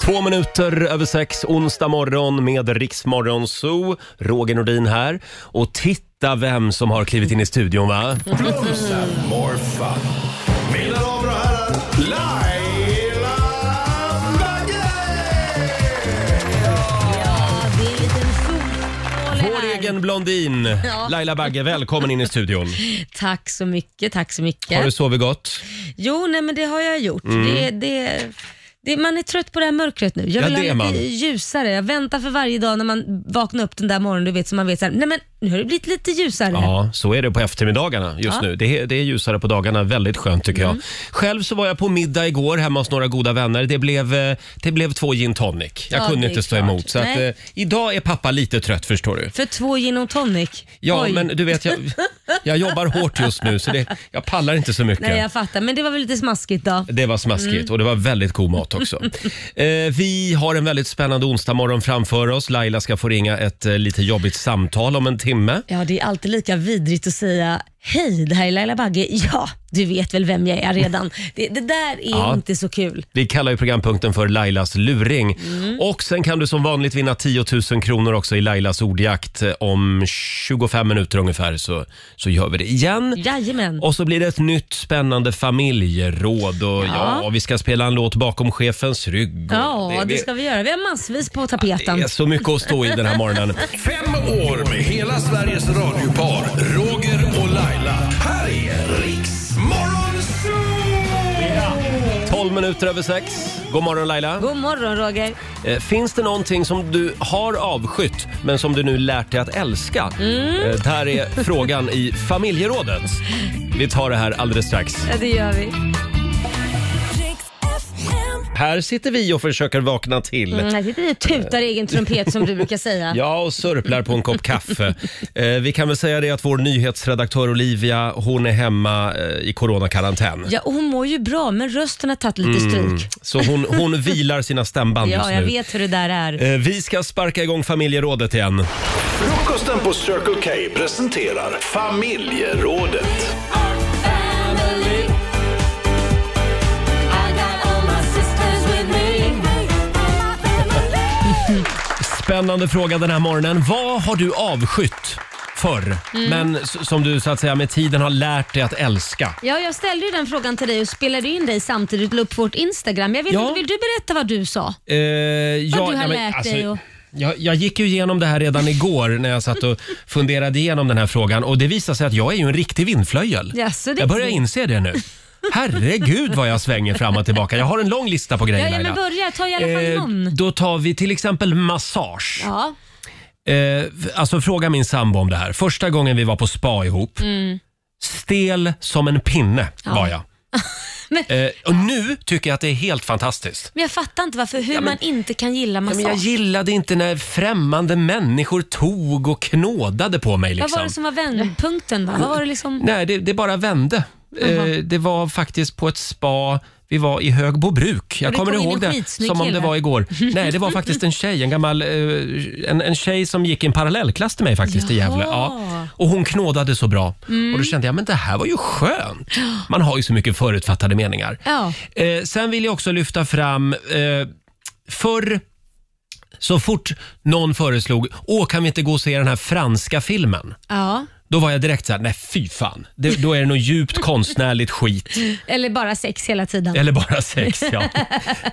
Två minuter över sex, onsdag morgon med Riksmorgon Zoo. Roger Nordin här. Och titta vem som har klivit in i studion va? Blues and more fun. Mina damer och herrar, Laila Bagge! Ja, det är en liten Vår solstråle här. egen blondin, Ja. Laila Bagge, välkommen in i studion. Tack så mycket, tack så Har du mycket. sovit gott? Jo, nej men det har jag gjort. Det, det, det, man är trött på det här mörkret nu. Jag Ja, vill det är ha man. lite ljusare. Jag väntar för varje dag när man vaknar upp den där morgonen, du vet, så man vet så här, nej men nu har det blivit lite ljusare. Ja, så är det på eftermiddagarna just Ja. Mm. nu. Det är, det är ljusare på dagarna. Väldigt skönt tycker jag. Själv så var jag på middag igår hemma hos några goda vänner. Det blev, eh, det blev två gin tonic. Jag Ja, kunde det är inte stå klart. emot. Så att, Nej. eh, idag är pappa lite trött förstår du. För två gin och tonic. Ja, Oj. men du vet, jag, jag jobbar hårt just nu så det, jag pallar inte så mycket. Nej, jag Mm. fattar. Men det var väl lite smaskigt då. Det var smaskigt och det var väldigt god mat också. eh, vi har en väldigt spännande onsdag morgon framför oss. Laila ska få ringa ett eh, lite jobbigt samtal om en timme. Ja, det är alltid lika vidrigt att säga Hej, det här är Laila Bagge. Ja, du vet väl vem jag är redan. Det, det där är Ja. inte så kul. Vi kallar ju programpunkten för Lailas luring. Mm. Och sen kan du som vanligt vinna 10 000 kronor också i Lailas ordjakt. Eh, Om 25 minuter ungefär så, så gör vi det igen. Jajamän. Och så blir det ett nytt spännande familjeråd och ja, Ja. vi ska spela en låt bakom chefens rygg. och Ja, det ska vi göra. Vi har massvis på tapeten. Det är så mycket att stå i den här morgonen. Fem år med hela Sveriges radiopar, Roger och Laila. Här är Riks Morgonzoo! 12 minuter över sex. God morgon Laila. God morgon Roger. Eh, Finns det någonting som du har avskytt men som du nu lärt dig att älska? Mm. Eh, Där är frågan i familjerådet. Vi tar det här alldeles strax. Ja, det gör vi. Här sitter vi och försöker vakna till. Mm, här sitter vi och tutar i egen trumpet som du brukar säga. Ja, och sörplar på en kopp kaffe. Eh, vi kan väl säga det att vår nyhetsredaktör Olivia, hon är hemma eh, i coronakarantän. Ja, och hon mår ju bra, men rösten har tagit Mm. lite stryk. Så hon, hon vilar sina stämband just Ja, nu. jag vet hur det där är. Eh, Vi ska sparka igång familjerådet igen. Frukosten på Circle K presenterar Familjerådet. Spännande fråga den här morgonen. Vad har du avskytt förr, Mm. men s- som du så att säga med tiden har lärt dig att älska? Ja, jag ställde ju den frågan till dig och spelade in dig samtidigt och la upp på vårt Instagram. Jag vet Ja. inte, vill du berätta vad du sa? Eh, ja, har nej, men alltså, lärt dig och- jag, jag gick ju igenom det här redan igår när jag satt och funderade igenom den här frågan och det visade sig att jag är ju en riktig vindflöjel. Jaså, det är jag börjar så. inse det nu. Herregud vad jag svänger fram och tillbaka. Jag har en lång lista på grejer Ja, ja, men Laila. börja. Ta i alla fall Eh, någon. Då tar vi till exempel massage. Ja. Eh, alltså fråga min sambo om det här. Första gången vi var på spa ihop. Mm. Stel som en pinne var jag. Men- eh, och nu tycker jag att det är helt fantastiskt. Men jag fattar inte varför, hur man inte kan gilla Ja, massage. men jag gillade inte när främmande människor tog och knådade på mig. Vad Liksom. var det som var vändpunkten? Va? Vad var det liksom? Nej, det, det bara vände. Eh, det var faktiskt på ett spa. Vi var i Högbobruk. Jag det kommer kom in ihåg en det skitsnygg som om det kille. var igår. Nej, det var faktiskt en tjej. En gammal eh, en, en tjej som gick i en parallellklass till mig faktiskt i Jaha. Mm. Gävle. Ja. Och hon knådade så bra. Och då kände jag, men det här var ju skönt. Man har ju så mycket förutfattade meningar. Ja. Eh, sen vill jag också lyfta fram, eh, förr så fort någon föreslog, åh kan vi inte gå och se den här franska filmen? ja. Då var jag direkt så här, nej fy fan. Det, då är det något djupt konstnärligt skit. Eller bara sex hela tiden. Eller bara sex, ja.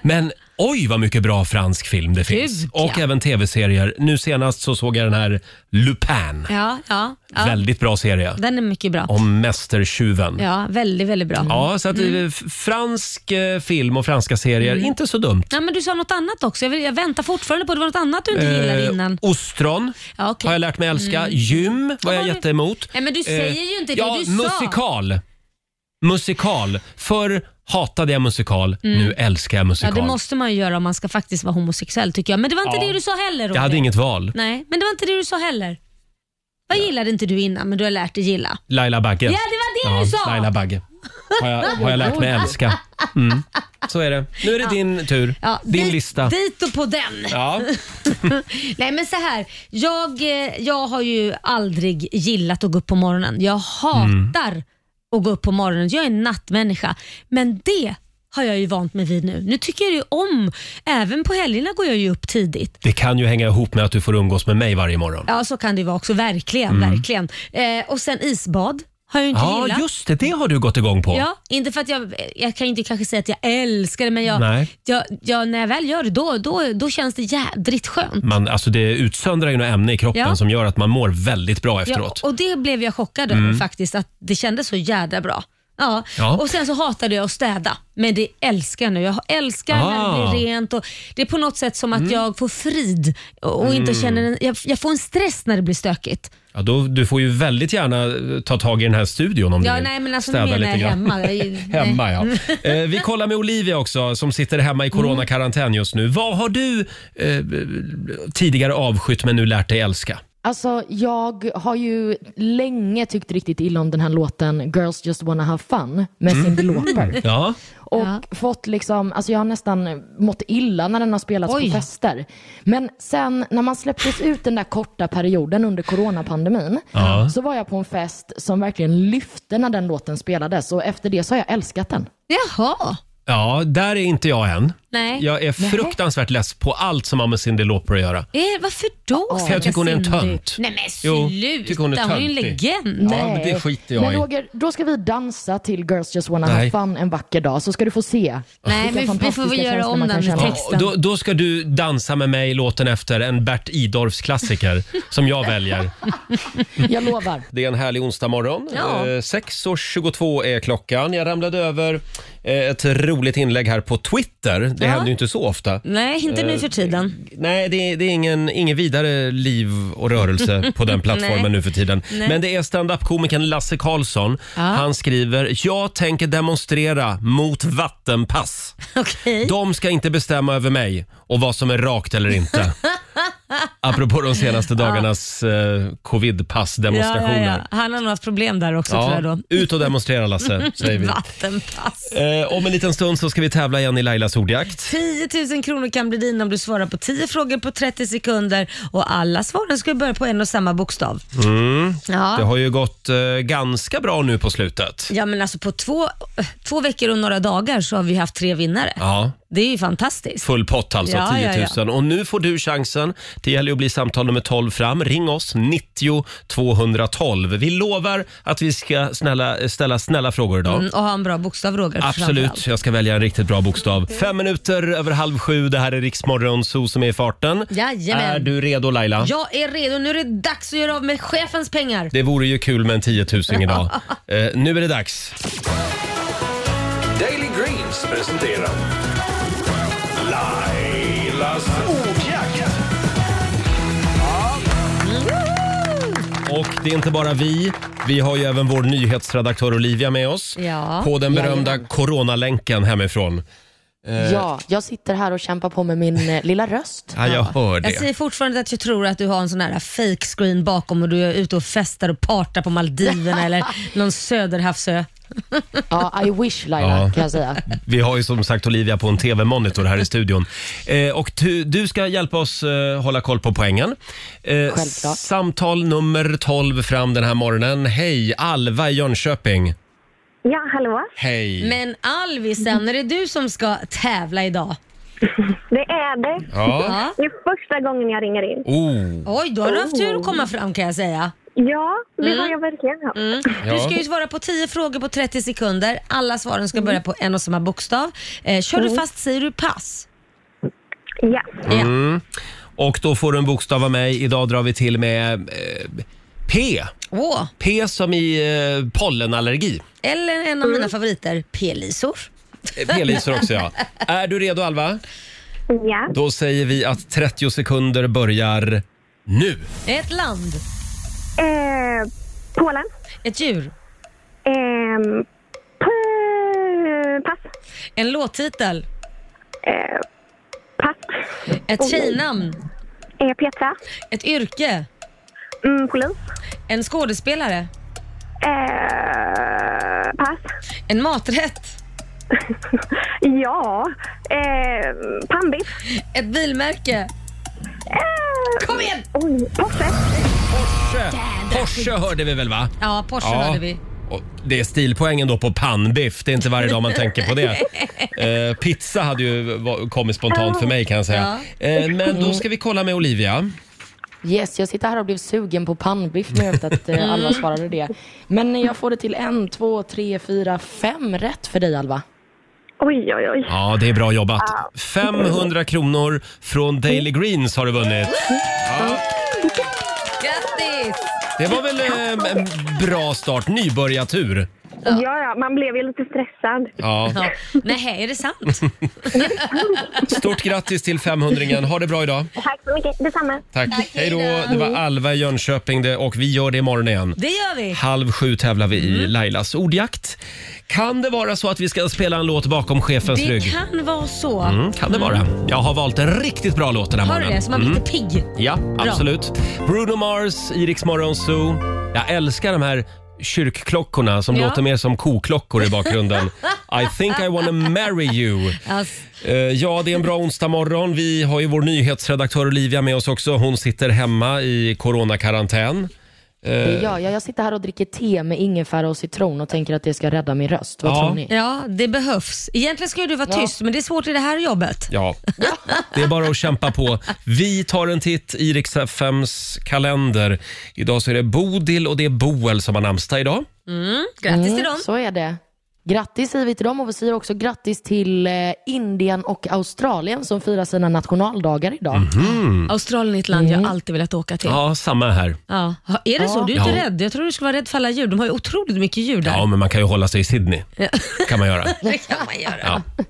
Men oj vad mycket bra fransk film det finns. Gud, ja. Och även tv-serier. Nu senast så såg jag den här Lupin. Ja, ja, ja. Väldigt bra serie. Den är mycket bra. Om mästertjuven. Ja. Ja, Mm. väldigt, väldigt bra. Ja. så att, eh, f- fransk eh, film och franska serier, Mm. inte så dumt. men du sa något annat också. Jag, vill, jag väntar fortfarande på det. var något annat du inte gillade Eh, innan. ostron Ja, okej. Mm. har jag lärt mig älska. Gym var jag Ja, jätteemot. Nej, men du säger ju inte det ja, du sa. musikal. Musikal. Förr hatade jag musikal, nu älskar jag Mm. Ja, musikal. det måste man ju göra om man ska faktiskt vara homosexuell tycker jag. Men det var inte Ja. det du sa heller Roger. jag hade inget val. Nej, men det var inte det du sa heller. Vad gillade inte du innan men du har lärt dig gilla? Laila Bagge. Ja, det var det du sa! Laila Bagge. Har jag, har jag lärt mig älska. Mm. Så är det. Nu är det din tur. Ja, din dit, lista. Dit och på den. Ja. Nej men så här, jag, eh, jag har ju aldrig gillat att gå upp på morgonen. Jag hatar att gå upp på morgonen. Jag är en nattmänniska. Men det har jag ju vant mig vid nu. Nu tycker jag ju om, även på helgerna går jag ju upp tidigt. Det kan ju hänga ihop med att du får umgås med mig varje morgon. Ja, så kan det ju vara också. Verkligen, verkligen. Eh, och sen isbad har jag ju inte Mm. Ja, gillat. just det. Det har du gått igång på. Ja, inte för att jag, jag kan ju inte kanske säga att jag älskar det, men jag, Nej. jag, jag, när jag väl gör det, då, då, då känns det jädrigt skönt. Man, alltså det utsöndrar ju något ämne i kroppen Ja. som gör att man mår väldigt bra Ja, efteråt. och det blev jag chockad över faktiskt, att det kändes så jädra bra. Ja. Mm. Ja. och sen så hatade jag att städa, men det älskar jag nu. Jag älskar när Ah. Mm. det blir rent och det är på något sätt som att jag får frid och och inte känner en, jag, jag får en stress när det blir stökigt. Ja, då, du får ju väldigt gärna eh, ta tag i den här studion om du Ja, vill nej men alltså nu städa menar lite jag grann. hemma. Mm. Jag- Hemma ja. Eh, vi kollar med Olivia också som sitter hemma i Mm. coronakarantän just nu. Vad har du eh, tidigare avskytt men nu lärt dig älska? Alltså, jag har ju länge tyckt riktigt illa om den här låten Girls just wanna have fun med Cyndi Lauper. Mm. Ja, Och Ja. fått liksom, alltså jag har nästan mått illa när den har spelats Oj. på fester. Men sen när man släpptes ut den där korta perioden under coronapandemin Ja. så var jag på en fest som verkligen lyfte när den låten spelades och efter det så har jag älskat den. Jaha. ja där är inte jag än. Nej. Jag är fruktansvärt less på allt som har med Cyndi Lauper att göra. Eh, varför då? För jag tycker hon är en Cindy? tönt. Nej men Jo, sluta, tycker hon är hon är ju en töntig. legend. Ja, men det skiter jag men i. Roger, då ska vi dansa till Girls just wanna Nej. have fun en vacker dag så ska du få se. Nej, vilka vi- vi får fantastiska väl göra känslor om man den kan med känna. text. Ja, då, då ska du dansa med mig låten efter en Bert Idorfs klassiker som jag väljer. Jag lovar. Det är en härlig onsdagmorgon. Ja. Eh, 6.22 är klockan. Jag ramlade över eh, ett roligt inlägg här på Twitter. Det Ja. händer ju inte så ofta. Nej, inte Eh, nu för tiden. Nej, det, det är ingen, ingen vidare liv och rörelse på den Nej. plattformen nu för tiden. Nej. Men det är standup-komikern Lasse Karlsson. Han skriver “Jag tänker demonstrera mot vattenpass. Okej. De ska inte bestämma över mig och vad som är rakt eller inte.” Apropå de senaste dagarnas eh, covidpass-demonstrationer. Han har nog haft problem där också Ja, tror jag då. ut och demonstrera Lasse, säger vi. Vattenpass. Eh, om en liten stund så ska vi tävla igen i Lailas ordjakt. 10 000 kronor kan bli dina om du svarar på 10 frågor på 30 sekunder och alla svaren ska ju börja på en och samma bokstav. Mm. Det Ja. har ju gått eh, ganska bra nu på slutet. ja, men alltså på två, två veckor och några dagar så har vi haft tre vinnare. Ja, Det är ju fantastiskt. full pott alltså, Ja, 10 000. ja, Och nu får du chansen. Det gäller ju att bli samtal nummer 12 fram. Ring oss, 90 212. Vi lovar att vi ska snälla, ställa snälla frågor idag. Mm, och ha en bra bokstav Roger. Absolut, framförallt. Mm. jag ska välja en riktigt bra bokstav. Fem minuter över halv sju, det här är Riksmorgon, Zoo som är i farten. Jajamän. Är du redo Laila? Jag är redo. Nu är det dags att göra av med chefens pengar. Det vore ju kul med en 10 000 idag. eh, nu är det dags. Daily Greens presenterar Lailas ordjakt. Och det är inte bara vi. Vi har ju även vår nyhetsredaktör Olivia med oss. Ja. På den berömda Jajamän. coronalänken hemifrån. Eh, Ja, jag sitter här och kämpar på med min eh, lilla röst. Ja, jag hör Jag säger det. fortfarande att jag tror att du har en sån här fake screen bakom och du är ute och festar och partar på Maldiverna eller någon söderhavsö. Ja, I wish Laila Ja. kan jag säga. Vi har ju som sagt Olivia på en TV-monitor här i studion. Eh, och du, du ska hjälpa oss eh, hålla koll på poängen. Eh, Självklart. samtal nummer 12 fram den här morgonen. Hej, Alva i Jönköping. Ja, hallå. Hej. Men Alvisen, är det du som ska tävla idag? Det är det. Ja. Ja. Det är första gången jag ringer in. Oh, Oj, då har du haft tur att komma fram kan jag säga. Ja, det har jag verkligen haft. Ja. Du ska ju svara på 10 frågor på 30 sekunder. Alla svaren ska börja på en och samma bokstav. Eh, kör du fast säger du pass. Ja. och då får du en bokstav av mig. Idag drar vi till med eh, P. Åh, P som i eh, pollenallergi. eller en av mina favoriter, p-lisor. Eh, P-lisor också ja. Är du redo Alva? ja. Då säger vi att 30 sekunder börjar nu. Ett land, Eh, Polen. ett djur, Eh, p- pass. en låttitel, Eh, pass. ett tjejnamn, Eh, Petra. ett yrke, Mm, polis. en skådespelare, Eh, pass. en maträtt, Ja. Eh, Pannbiff. ett bilmärke. Eh, Kom igen! Oj, Posse. Porsche hörde vi väl va? Ja, Porsche hade vi. Och det är stilpoängen då på pannbiff. Det är inte varje dag man tänker på det. Eh, pizza hade ju va- kommit spontant för mig kan jag säga. Eh, men då ska vi kolla med Olivia. Yes, jag sitter här och blev sugen på pannbiff när jag hörde att eh, Alva svarade det. Men jag får det till en, två, tre, fyra, fem rätt för dig Alva. Oj, oj, oj. Ja, det är bra jobbat. 500 kronor från Daily Greens har du vunnit. Grattis! Det var väl eh, en bra start, nybörjartur. Ja. ja, man blev ju lite stressad. Ja. Ja. Nej, är det sant? Stort grattis till 500-ringen. Ha det bra idag. Tack så mycket. Detsamma. Tack. Tack, Hej då. hej Det var Alva i Jönköping det, och vi gör det imorgon igen. Det gör vi. Halv sju tävlar vi Mm. i Lailas ordjakt. Kan det vara så att vi ska spela en låt bakom chefens Det rygg? kan vara så. Mm, kan det vara. Jag har valt en riktigt bra låt den här Har du morgonen. det? Så man blir lite pigg. Ja, absolut. Bruno Mars, Iriks Morgonzoo. Jag älskar de här kyrkklockorna som Ja. låter mer som koklockor i bakgrunden. I think I wanna marry you. Alltså, Eh, ja, det är en bra onsdag morgon. Vi har ju vår nyhetsredaktör Olivia med oss också. Hon sitter hemma i coronakarantän. Eh. Det gör Eh, jag. Jag sitter här och dricker te med ingefära och citron och tänker att det ska rädda min röst. Vad Ja. tror ni? ja, det behövs. Egentligen ska ju du vara tyst, men det är svårt i det här jobbet. Ja, det är bara att kämpa på. Vi tar en titt i Rix FMs kalender. Idag så är det Bodil och det är Boel som har namnsdag idag. Grattis till dem. Mm, så är det. Grattis säger vi till dem och vi säger också grattis till eh, Indien och Australien som firar sina nationaldagar idag. Mm. Australien är ett land jag alltid velat åka till. Ja, samma här. Mm. Ja. Ha, Är det så? Du är inte Ja. rädd? Jag tror du skulle vara rädd för alla djur. De har ju otroligt mycket djur där. Ja, men man kan ju hålla sig i Sydney. kan man göra. Det kan man göra. Ja.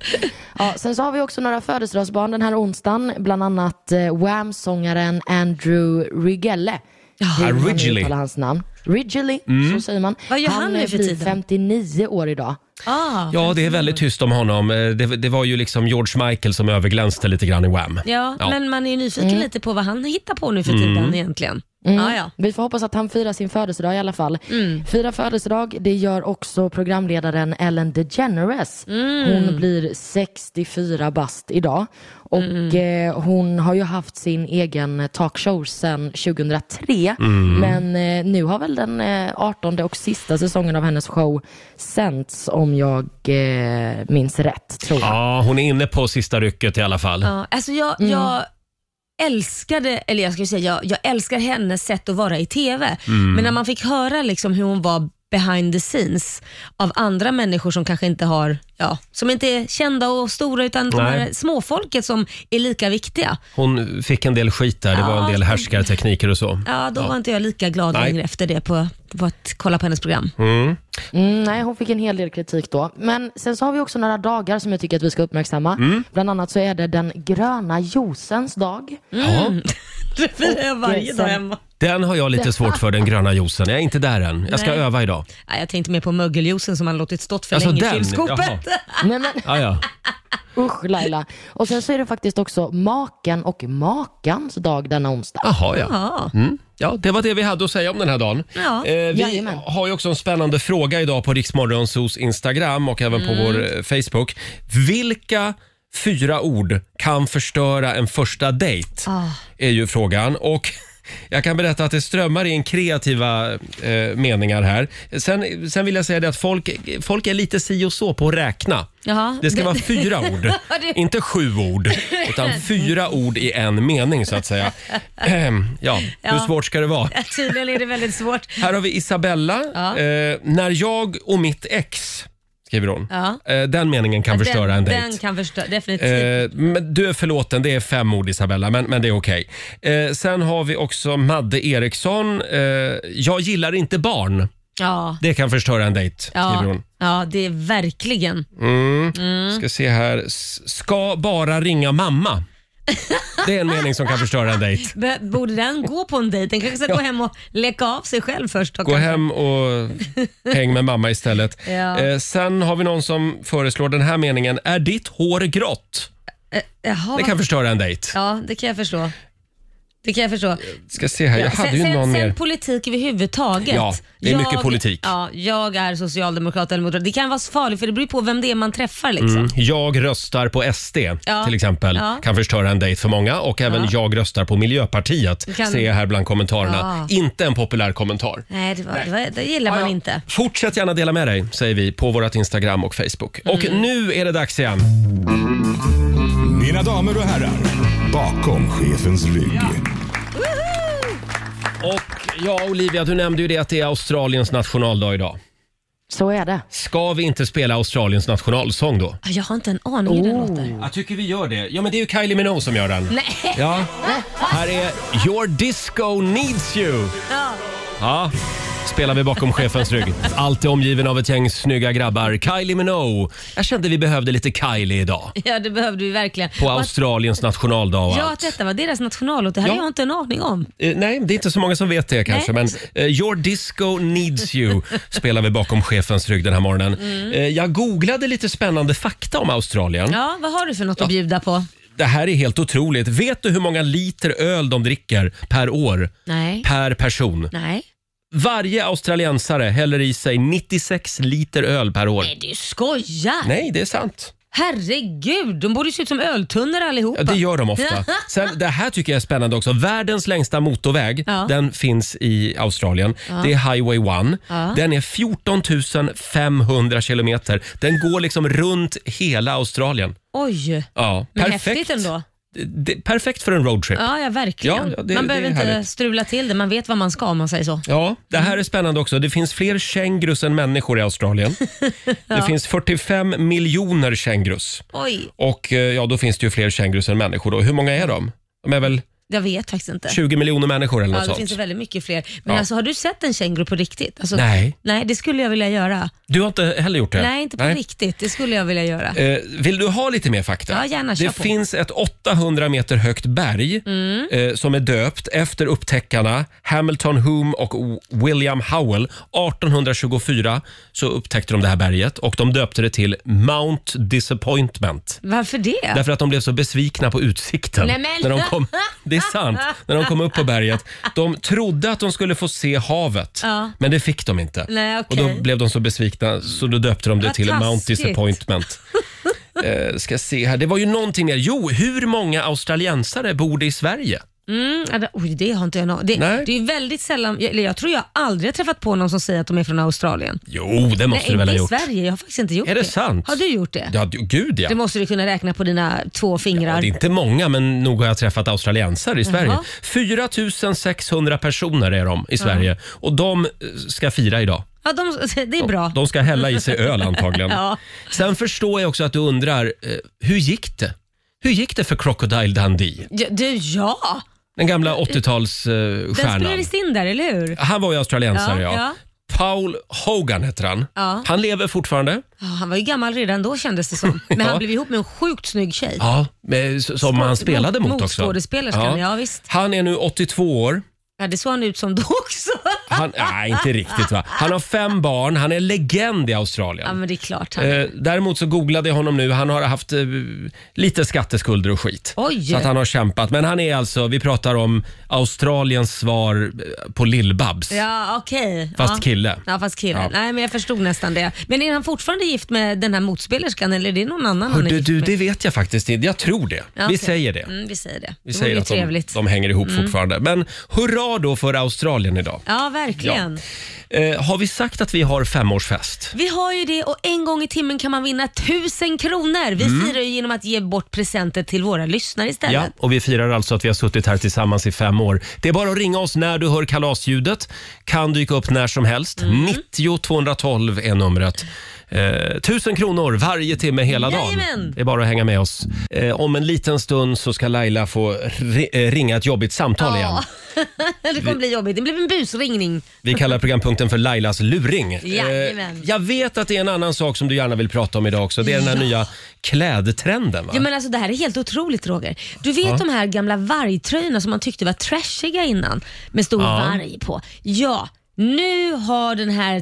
Ja, sen så har vi också några födelsedagsbarn den här onsdagen, bland annat eh, Wham-sångaren Andrew Rigelle. Ah, Hur man nu Ridgely. uttalar hans namn. Ridgely, så säger man. Mm. Vad gör han nu för blir tiden? 59 år idag. Ah. Ja, det är väldigt tyst om honom. Eh, Det, det var ju liksom George Michael som överglänste lite grann i Wham. Ja, men man är ju nyfiken Mm. lite på vad han hittar på nu för tiden egentligen. Ja, ja. Vi får hoppas att han firar sin födelsedag i alla fall. Fira födelsedag, det gör också programledaren Ellen DeGeneres. Hon blir 64 bast idag. Och eh, hon har ju haft sin egen talkshow sedan 2003. Men eh, nu har väl den eh, 18 och sista säsongen av hennes show sänts om jag eh, minns rätt, tror jag. Ja, hon är inne på sista rycket i alla fall. ja. Alltså jag, Mm. jag älskade, eller jag skulle säga jag, jag älskar hennes sätt att vara i TV. Mm. Men när man fick höra liksom hur hon var behind the scenes av andra människor som kanske inte har, ja, som inte är kända och stora utan de Nej. här småfolket som är lika viktiga. Hon fick en del skit där. Det var en Ja. del härskartekniker och så. Ja, då var inte jag lika glad Nej. längre efter det på, på att kolla på hennes program. Mm, nej, hon fick en hel del kritik då. Men sen så har vi också några dagar som jag tycker att vi ska uppmärksamma. Bland annat så är det den gröna juicens dag. Ja, Det firar jag varje Och dag sen- hemma. den har jag lite svårt för, den gröna juicen. Jag är inte där än. Jag ska Nej. öva idag. Nej, jag tänkte mer på mögeljuicen som han låtit stått för Alltså länge i den? kylskåpet. Nej, men, Ja, ja. usch Laila. Och sen så är det faktiskt också maken och makans dag denna onsdag. Jaha, ja. Ja. Mm. Ja, det var det vi hade att säga om den här dagen. Ja. Eh, vi Jajamän. har ju också en spännande fråga idag på Riksmorgonsos Instagram och även Mm. på vår eh, Facebook. Vilka fyra ord kan förstöra en första dejt? Ah. Är ju frågan. Och jag kan berätta att det strömmar in kreativa eh, meningar här. Sen, sen vill jag säga det att folk, folk är lite si och så på att räkna. Jaha. Det ska Det- vara fyra ord, det- inte sju ord, utan fyra ord i en mening så att säga. Ehm, ja, hur Ja. svårt ska det vara? Ja, Tydligen är det väldigt svårt. Här har vi Isabella. Ja. Eh, när jag och mitt ex, skriver hon. Ja. Eh, den meningen kan förstöra en dejt. Den kan förstöra, definitivt. Eh, men du är förlåten, det är fem ord Isabella, men, men det är okej. Eh, sen har vi också Madde Eriksson. Eh, jag gillar inte barn. ja. Det kan förstöra en dejt, skriver Ja. hon. ja, det är verkligen. Mm. Ska se här. S- Ska bara ringa mamma. Det är en mening som kan förstöra en dejt. Be- Borde den gå på en dejt? Den kanske ska gå hem och leka av sig själv först. och Gå kanske- hem och häng med mamma istället. Ja. Eh, sen har vi någon som föreslår den här meningen. Är ditt hår grått? Jaha, Det kan förstöra en dejt. ja, det kan jag förstå. Det kan jag förstå. Ska se här, jag hade sen, ju sen, någon sen mer. politik överhuvudtaget. Ja, det är jag, mycket politik. Ja, jag är socialdemokrat eller moderat. Det kan vara så farligt för det beror på vem det är man träffar. Liksom. Mm, Jag röstar på SD Ja. till exempel. Ja. Kan förstöra en dejt för många. Och även Ja. jag röstar på Miljöpartiet. Kan- Ser jag här bland kommentarerna. Inte en populär kommentar. Nej, det, var, det, var, det gillar man inte. Fortsätt gärna dela med dig, säger vi på vårt Instagram och Facebook. Och Mm. nu är det dags igen. Mina damer och herrar, bakom chefens rygg. Och ja, Olivia, du nämnde ju det att det är Australiens nationaldag idag. Så är det. Ska vi inte spela Australiens nationalsång då? Ah, Jag har inte en aning hur Oh. den låter. Jag tycker vi gör det. Ja, men det är ju Kylie Minogue som gör den. Nej. Ja. Här är Your Disco Needs You. Ja. Ja, spelar vi bakom chefens rygg. Alltid omgiven av ett gäng snygga grabbar. Kylie Minogue. Jag kände vi behövde lite Kylie idag. Ja, det behövde vi verkligen. På Och att- Australiens nationaldag och Ja, allt. att detta var deras nationallåt, det hade Ja. jag inte en aning om. Eh, Nej, det är inte så många som vet det kanske, Nej. men eh, Your Disco Needs You spelar vi bakom chefens rygg den här morgonen. Mm. Eh, jag googlade lite spännande fakta om Australien. Ja, vad har du för något att bjuda på? Det här är helt otroligt. Vet du hur många liter öl de dricker per år? Nej. Per person. Nej. Varje australiensare häller i sig 96 liter öl per år. Nej, du skojar! Nej, det är sant. Herregud, de borde ju se ut som öltunnor allihopa. Ja, det gör de ofta. Sen, det här tycker jag är spännande också. Världens längsta motorväg, Ja. den finns i Australien. Det är Highway 1. Ja. Den är 14 500 kilometer. Den går liksom runt hela Australien. Oj, Ja, men perfekt. häftigt ändå. Det- det- Perfekt för en roadtrip. Ja, ja verkligen. Ja, ja, det- man det behöver är inte härligt. strula till det, man vet vad man ska om man säger så. Ja, det här är spännande också. Det finns fler kängurus än människor i Australien. Det finns 45 miljoner kängurus. Oj, Och eh, ja, då finns det ju fler kängurus än människor. Då. Hur många är de? De är väl jag vet faktiskt inte. 20 miljoner människor eller Ja, något det sånt. finns ju väldigt mycket fler. Men Ja. alltså, har du sett en känguru på riktigt? Alltså, Nej. Nej, det skulle jag vilja göra. Du har inte heller gjort det? Nej, inte på riktigt. Det skulle jag vilja göra. Eh, vill du ha lite mer fakta? Ja, gärna, kör det på. Mm. finns ett 800 meter högt berg eh, som är döpt efter upptäckarna Hamilton Hume och O- William Howell. 1824 så upptäckte de det här berget och de döpte det till Mount Disappointment. Varför det? Därför att de blev så besvikna på utsikten. Nej, men- När de kom, det är sant. När de kom upp på berget. De trodde att de skulle få se havet, Ja. men det fick de inte. Nej, Och okej. då blev de så besvikna så då döpte de det Vad till Mount taskigt. Disappointment. Eh, ska se här. Det var ju någonting mer. Jo, hur många australiensare bor det i Sverige? Mm, ja, det- oj, det har inte jag någon. Det, Nej. det är ju väldigt sällan, jag, eller jag tror jag aldrig har träffat på någon som säger att de är från Australien. Jo, det måste Nej, du väl ha inte i gjort? Sverige. Jag har faktiskt inte gjort Är det sant? Har du gjort det? Ja, d- gud ja. Det måste du kunna räkna på dina två fingrar. Ja, det är inte många, men nog har jag träffat australiensare i Sverige. 4 600 personer är de i Sverige och de eh, ska fira idag. Ja, de, det är bra. De ska hälla i sig öl antagligen. Ja. Sen förstår jag också att du undrar, eh, hur gick det? Hur gick det för Crocodile Dundee? Ja, du, ja! Den gamla 80-talsstjärnan. Eh, Eh, Den stjärnan. spelades in där, eller hur? han var ju australiensare ja. Ja, ja. Paul Hogan heter han. Ja. Han lever fortfarande. Ja, han var ju gammal redan då kändes det som. Men Ja. han blev ihop med en sjukt snygg tjej. Ja, med, s- som han spelade mot, mot också. skådespelerskan, ja, visst. Han är nu 82 år. Ja, det såg han ut som då också. Han, nej, inte riktigt va. Han har fem barn. Han är legend i Australien. Ja, men det är klart. Han. Eh, däremot så googlade jag honom nu. Han har haft eh, lite skatteskulder och skit. Oj. Så att han har kämpat. Men han är alltså, vi pratar om Australiens svar eh, på Lill-Babs. Ja, okej. Fast ja. kille. Ja, fast kille. Ja. Nej, men jag förstod nästan det. Men är han fortfarande gift med den här motspelerskan eller är det någon annan han är Hörde gift du, med? det vet jag faktiskt inte. Jag tror det. Ja, Vi okej. säger det. Mm, vi säger det. Vi det vore säger ju att de, trevligt. Mm. de hänger ihop fortfarande. Men hurra då för Australien idag. Ja, verkligen. Eh, har vi sagt att vi har femårsfest? Vi har ju det och en gång i timmen kan man vinna tusen kronor. Vi firar ju genom att ge bort presenter till våra lyssnare istället. Ja, och vi firar alltså att vi har suttit här tillsammans i fem år. Det är bara att ringa oss när du hör kalasljudet. Kan dyka upp när som helst. Mm. 90 212 är numret. Eh, tusen kronor varje timme hela dagen. Jajamän! Det är bara att hänga med oss. Eh, om en liten stund så ska Laila få ri- eh, ringa ett jobbigt samtal igen. det kommer bli jobbigt. Det blev en busringning. Vi kallar programpunkten för Lailas luring. Eh, Jajamän. jag vet att det är en annan sak som du gärna vill prata om idag också. Det är den här nya klädtrenden. Va? Ja, men alltså, det här är helt otroligt Roger. Du vet de här gamla vargtröjorna som man tyckte var trashiga innan med stor varg på. Ja, nu har den här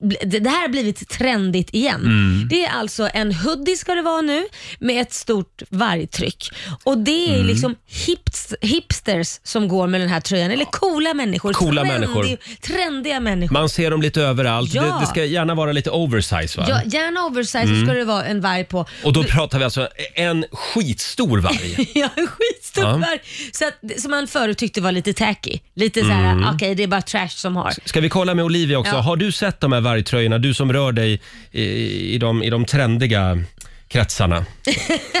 det det här har blivit trendigt igen. Mm. Det är alltså en hoodie ska det vara nu med ett stort vargtryck. Och det Mm. är liksom hips, hipsters som går med den här tröjan. Eller coola människor. Coola trendig, människor. Trendiga människor. Man ser dem lite överallt. Ja. Det, det ska gärna vara lite oversize va? Ja, gärna oversize så Mm. ska det vara en varg på. Och då pratar vi alltså en skitstor varg. Ja, en skitstor Ja. varg. Så att, som man förut tyckte var lite tacky. Lite såhär, Mm. okej det är bara trash som har. Ska vi kolla med Olivia också? Ja. Har du sett de här vargtröjorna? Du som rör dig i, i, de, i de trendiga kretsarna.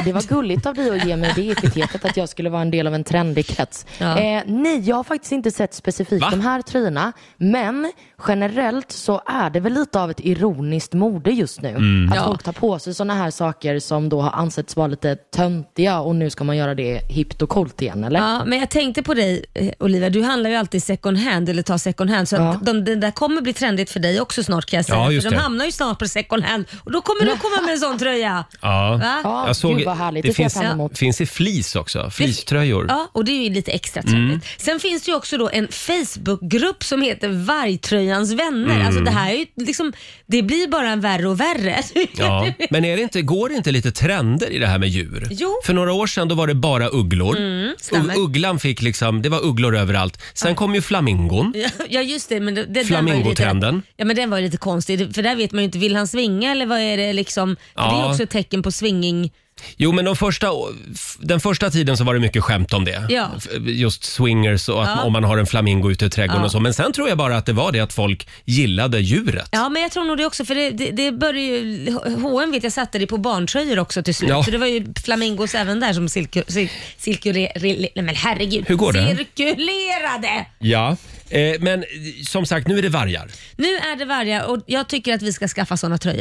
Det var gulligt av dig att ge mig det epitetet att jag skulle vara en del av en trendig krets. Ja. Eh, nej, jag har faktiskt inte sett specifikt Va? de här tröjorna. Men generellt så är det väl lite av ett ironiskt mode just nu. Att Mm. Ja. folk tar på sig sådana här saker som då har ansetts vara lite töntiga och nu ska man göra det hippt och coolt igen eller? Ja, men jag tänkte på dig eh, Olivia, du handlar ju alltid second hand eller tar second hand. Så att de, det där kommer bli trendigt för dig också snart kan jag säga. Ja, just för de det. hamnar ju snart på second hand och då kommer du komma med en sån tröja. Ja. Va? Ja, Jag såg, gud vad härligt. Det, det ser jag finns, fram emot. finns i flis också. Fliströjor. Ja, och det är ju lite extra trendigt. Mm. Sen finns det ju också då en Facebookgrupp som heter Vargtröjans vänner. Alltså det här är ju liksom, det blir bara en värre och värre. Ja. Men är det inte, går det inte lite trender i det här med djur? Jo. För några år sedan då var det bara ugglor. Mm, stämmer. U- ugglan fick liksom, det var ugglor överallt. Sen kom ju flamingon. Ja just det, men det, den var ju Flamingotrenden. lite, ja, men den var ju lite konstig. För där vet man ju inte, vill han svinga eller vad är det liksom? För Det är Ja. också ett tecken på swinging. Jo, men de första, å- f- den första tiden så var det mycket skämt om det. Ja. F- Just swingers och att, om man har en flamingo ute i trädgården Ja. och så. Men sen tror jag bara att det var det att folk gillade djuret. Ja men jag tror nog det också för det, det, det började ju, H&M vet jag satte det på barntröjor också till slut. Ja. Så det var ju flamingos även där som cirku, cir, cirkulere- re- nej men herregud. Hur går det? Cirkulerade! Ja. Eh, men eh, som sagt, nu är det vargar. Nu är det vargar och jag tycker att vi ska skaffa såna tröjor.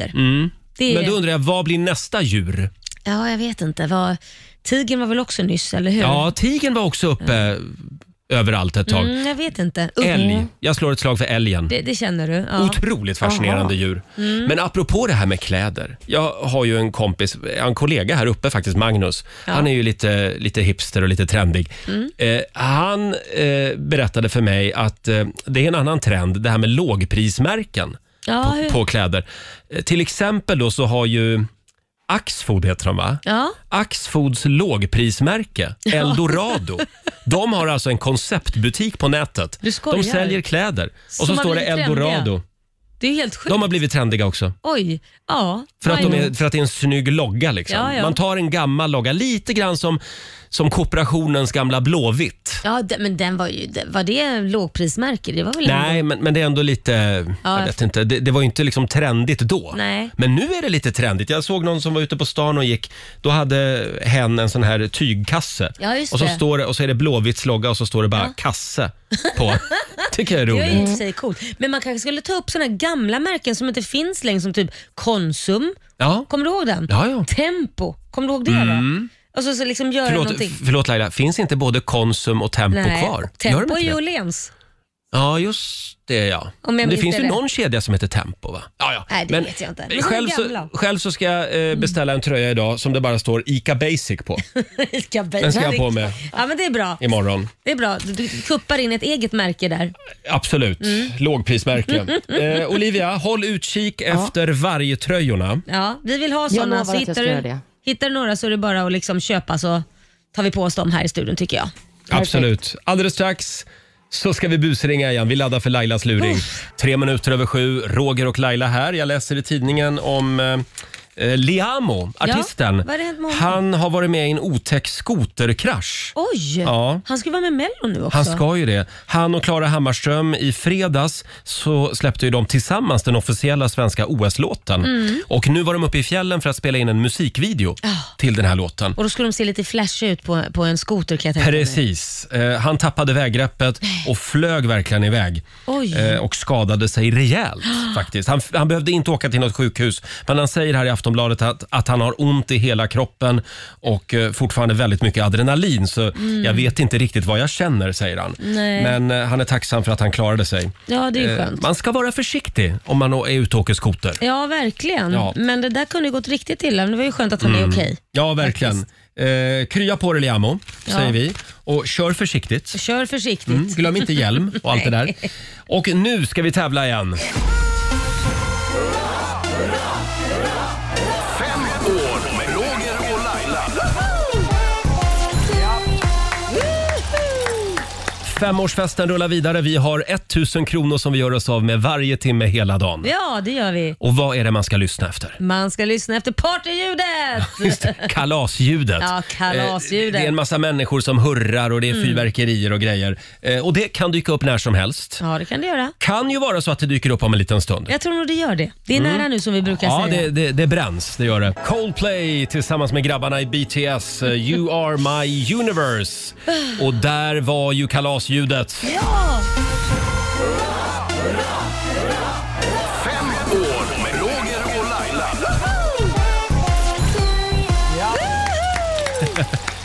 Det är, Mm. Men då undrar jag, vad blir nästa djur? Ja jag vet inte. Vad, tigern var väl också nyss eller hur? Ja, tigern var också uppe överallt ett tag. Mm, jag vet inte. Usch, Älg. Jag slår ett slag för älgen. Det, det känner du? Ja. Mm. Otroligt fascinerande djur. Men apropå det här med kläder. Jag har ju en kompis, en kollega här uppe faktiskt, Magnus. Han är ju lite, lite hipster och lite trendig. Mm. Eh, han eh, berättade för mig att eh, det är en annan trend, det här med lågprismärken Ja, hur- på, på kläder. Eh, till exempel då så har ju Axfood heter de va? Ja. Axfoods lågprismärke Eldorado. De har alltså en konceptbutik på nätet. Du skojar. De säljer kläder och så Som har står det blivit trendiga. Eldorado. Det är helt sjukt. De har blivit trendiga också. Oj. Ja. För att, Why de är, not? för att det är en snygg logga. Liksom. Ja, ja. Man tar en gammal logga, lite grann som, som kooperationens gamla Blåvitt. Ja, de- men den var ju... de- Var det lågprismärke? Det var väl ändå- Nej, men, men det är ändå lite... Mm. Ja. Jag vet inte, det, det var ju inte liksom trendigt då. Nej. Men nu är det lite trendigt. Jag såg någon som var ute på stan och gick. Då hade hen en sån här tygkasse. Ja, just och, så det. Står det, och så är det Blåvitts logga och så står det bara kasse på. tycker jag är Det roligt. är ju i och för sig coolt. Men man kanske skulle ta upp såna här gamla märken som inte finns längre, som typ Konsum. Ja. Kommer du ihåg den? Ja, ja. Mm. Tempo. Kommer du ihåg det? Då? Och så, så liksom göra Förlåt, någonting. förlåt Laila, finns inte både Konsum och Tempo kvar? Gör de Tempo inte är ju det? Åhléns. Ja, just det ja. Om jag det minns finns det ju rätt. någon kedja som heter Tempo va? Ja, ja. Nej, det vet jag inte. Men de är Själv så, gamla. Mm. själv så ska jag eh, beställa en tröja idag som det bara står ICA Basic på Ica Basic. Den ska jag ha på mig. Ja, men det är bra. imorgon. Det är bra. Du, du kuppar in ett eget märke där. Absolut, Mm. lågprismärke. eh, Olivia, håll utkik efter vargtröjorna. Ja, vi vill ha Jag såna. lovar Så att jag hittar, ska göra du, det. hittar du några så är det bara att liksom köpa så tar vi på oss dem här i studion tycker jag. Absolut. Alldeles strax så ska vi busringa igen. Vi laddar för Lailas luring. Tre minuter över sju, Roger och Laila här. Jag läser i tidningen om eh, eh, Liamo, artisten. vad har det hänt med honom? Han har varit med i en otäck skoterkrasch. Oj! Ja. Han ska vara med i Mello nu också. Han ska ju det. Han och Klara Hammarström i fredags så släppte ju de tillsammans den officiella svenska OS-låten. Och nu var de uppe i fjällen för att spela in en musikvideo till den här låten. Och då skulle de se lite flashiga ut på, på en skoter kan jag tänka mig. Precis. Eh, han tappade väggreppet och flög verkligen iväg. Oj. Eh, och skadade sig rejält faktiskt. Han, han behövde inte åka till något sjukhus. Men han säger här i Aftonbladet att, att han har ont i hela kroppen och eh, fortfarande väldigt mycket adrenalin. Så jag vet inte riktigt vad jag känner, säger han. Mm. Nej. Men eh, han är tacksam för att han klarade sig. Ja, det är ju Eh, skönt. man ska vara försiktig om man är ute och åker skoter. Ja, verkligen. Ja. Mm. Men det där kunde ju gått riktigt illa. Men det var ju skönt att han är okej. Ja, verkligen. Eh, krya på dig Liamo, Ja. säger vi. Och kör försiktigt. Kör försiktigt. Mm, glöm inte hjälm och allt det där. Och nu ska vi tävla igen. Femårsfesten rullar vidare. Vi har 1000 kronor som vi gör oss av med varje timme hela dagen. Ja, det gör vi. Och vad är det man ska lyssna efter? Man ska lyssna efter partyljudet! Just det, kalasljudet. Ja, Mm. kalasljudet. Eh, Det är en massa människor som hurrar och det är fyrverkerier och grejer. Eh, Och det kan dyka upp när som helst. Ja, det kan det göra. Kan ju vara så att det dyker upp om en liten stund. Jag tror nog det gör det. Det är nära nu som vi brukar Mm. Ja, säga. det, det, det bränns, det gör det. Coldplay tillsammans med grabbarna i BTS, eh, You are my universe. Och där var ju kalasljudet. Ja! Fem år med Roger och Laila.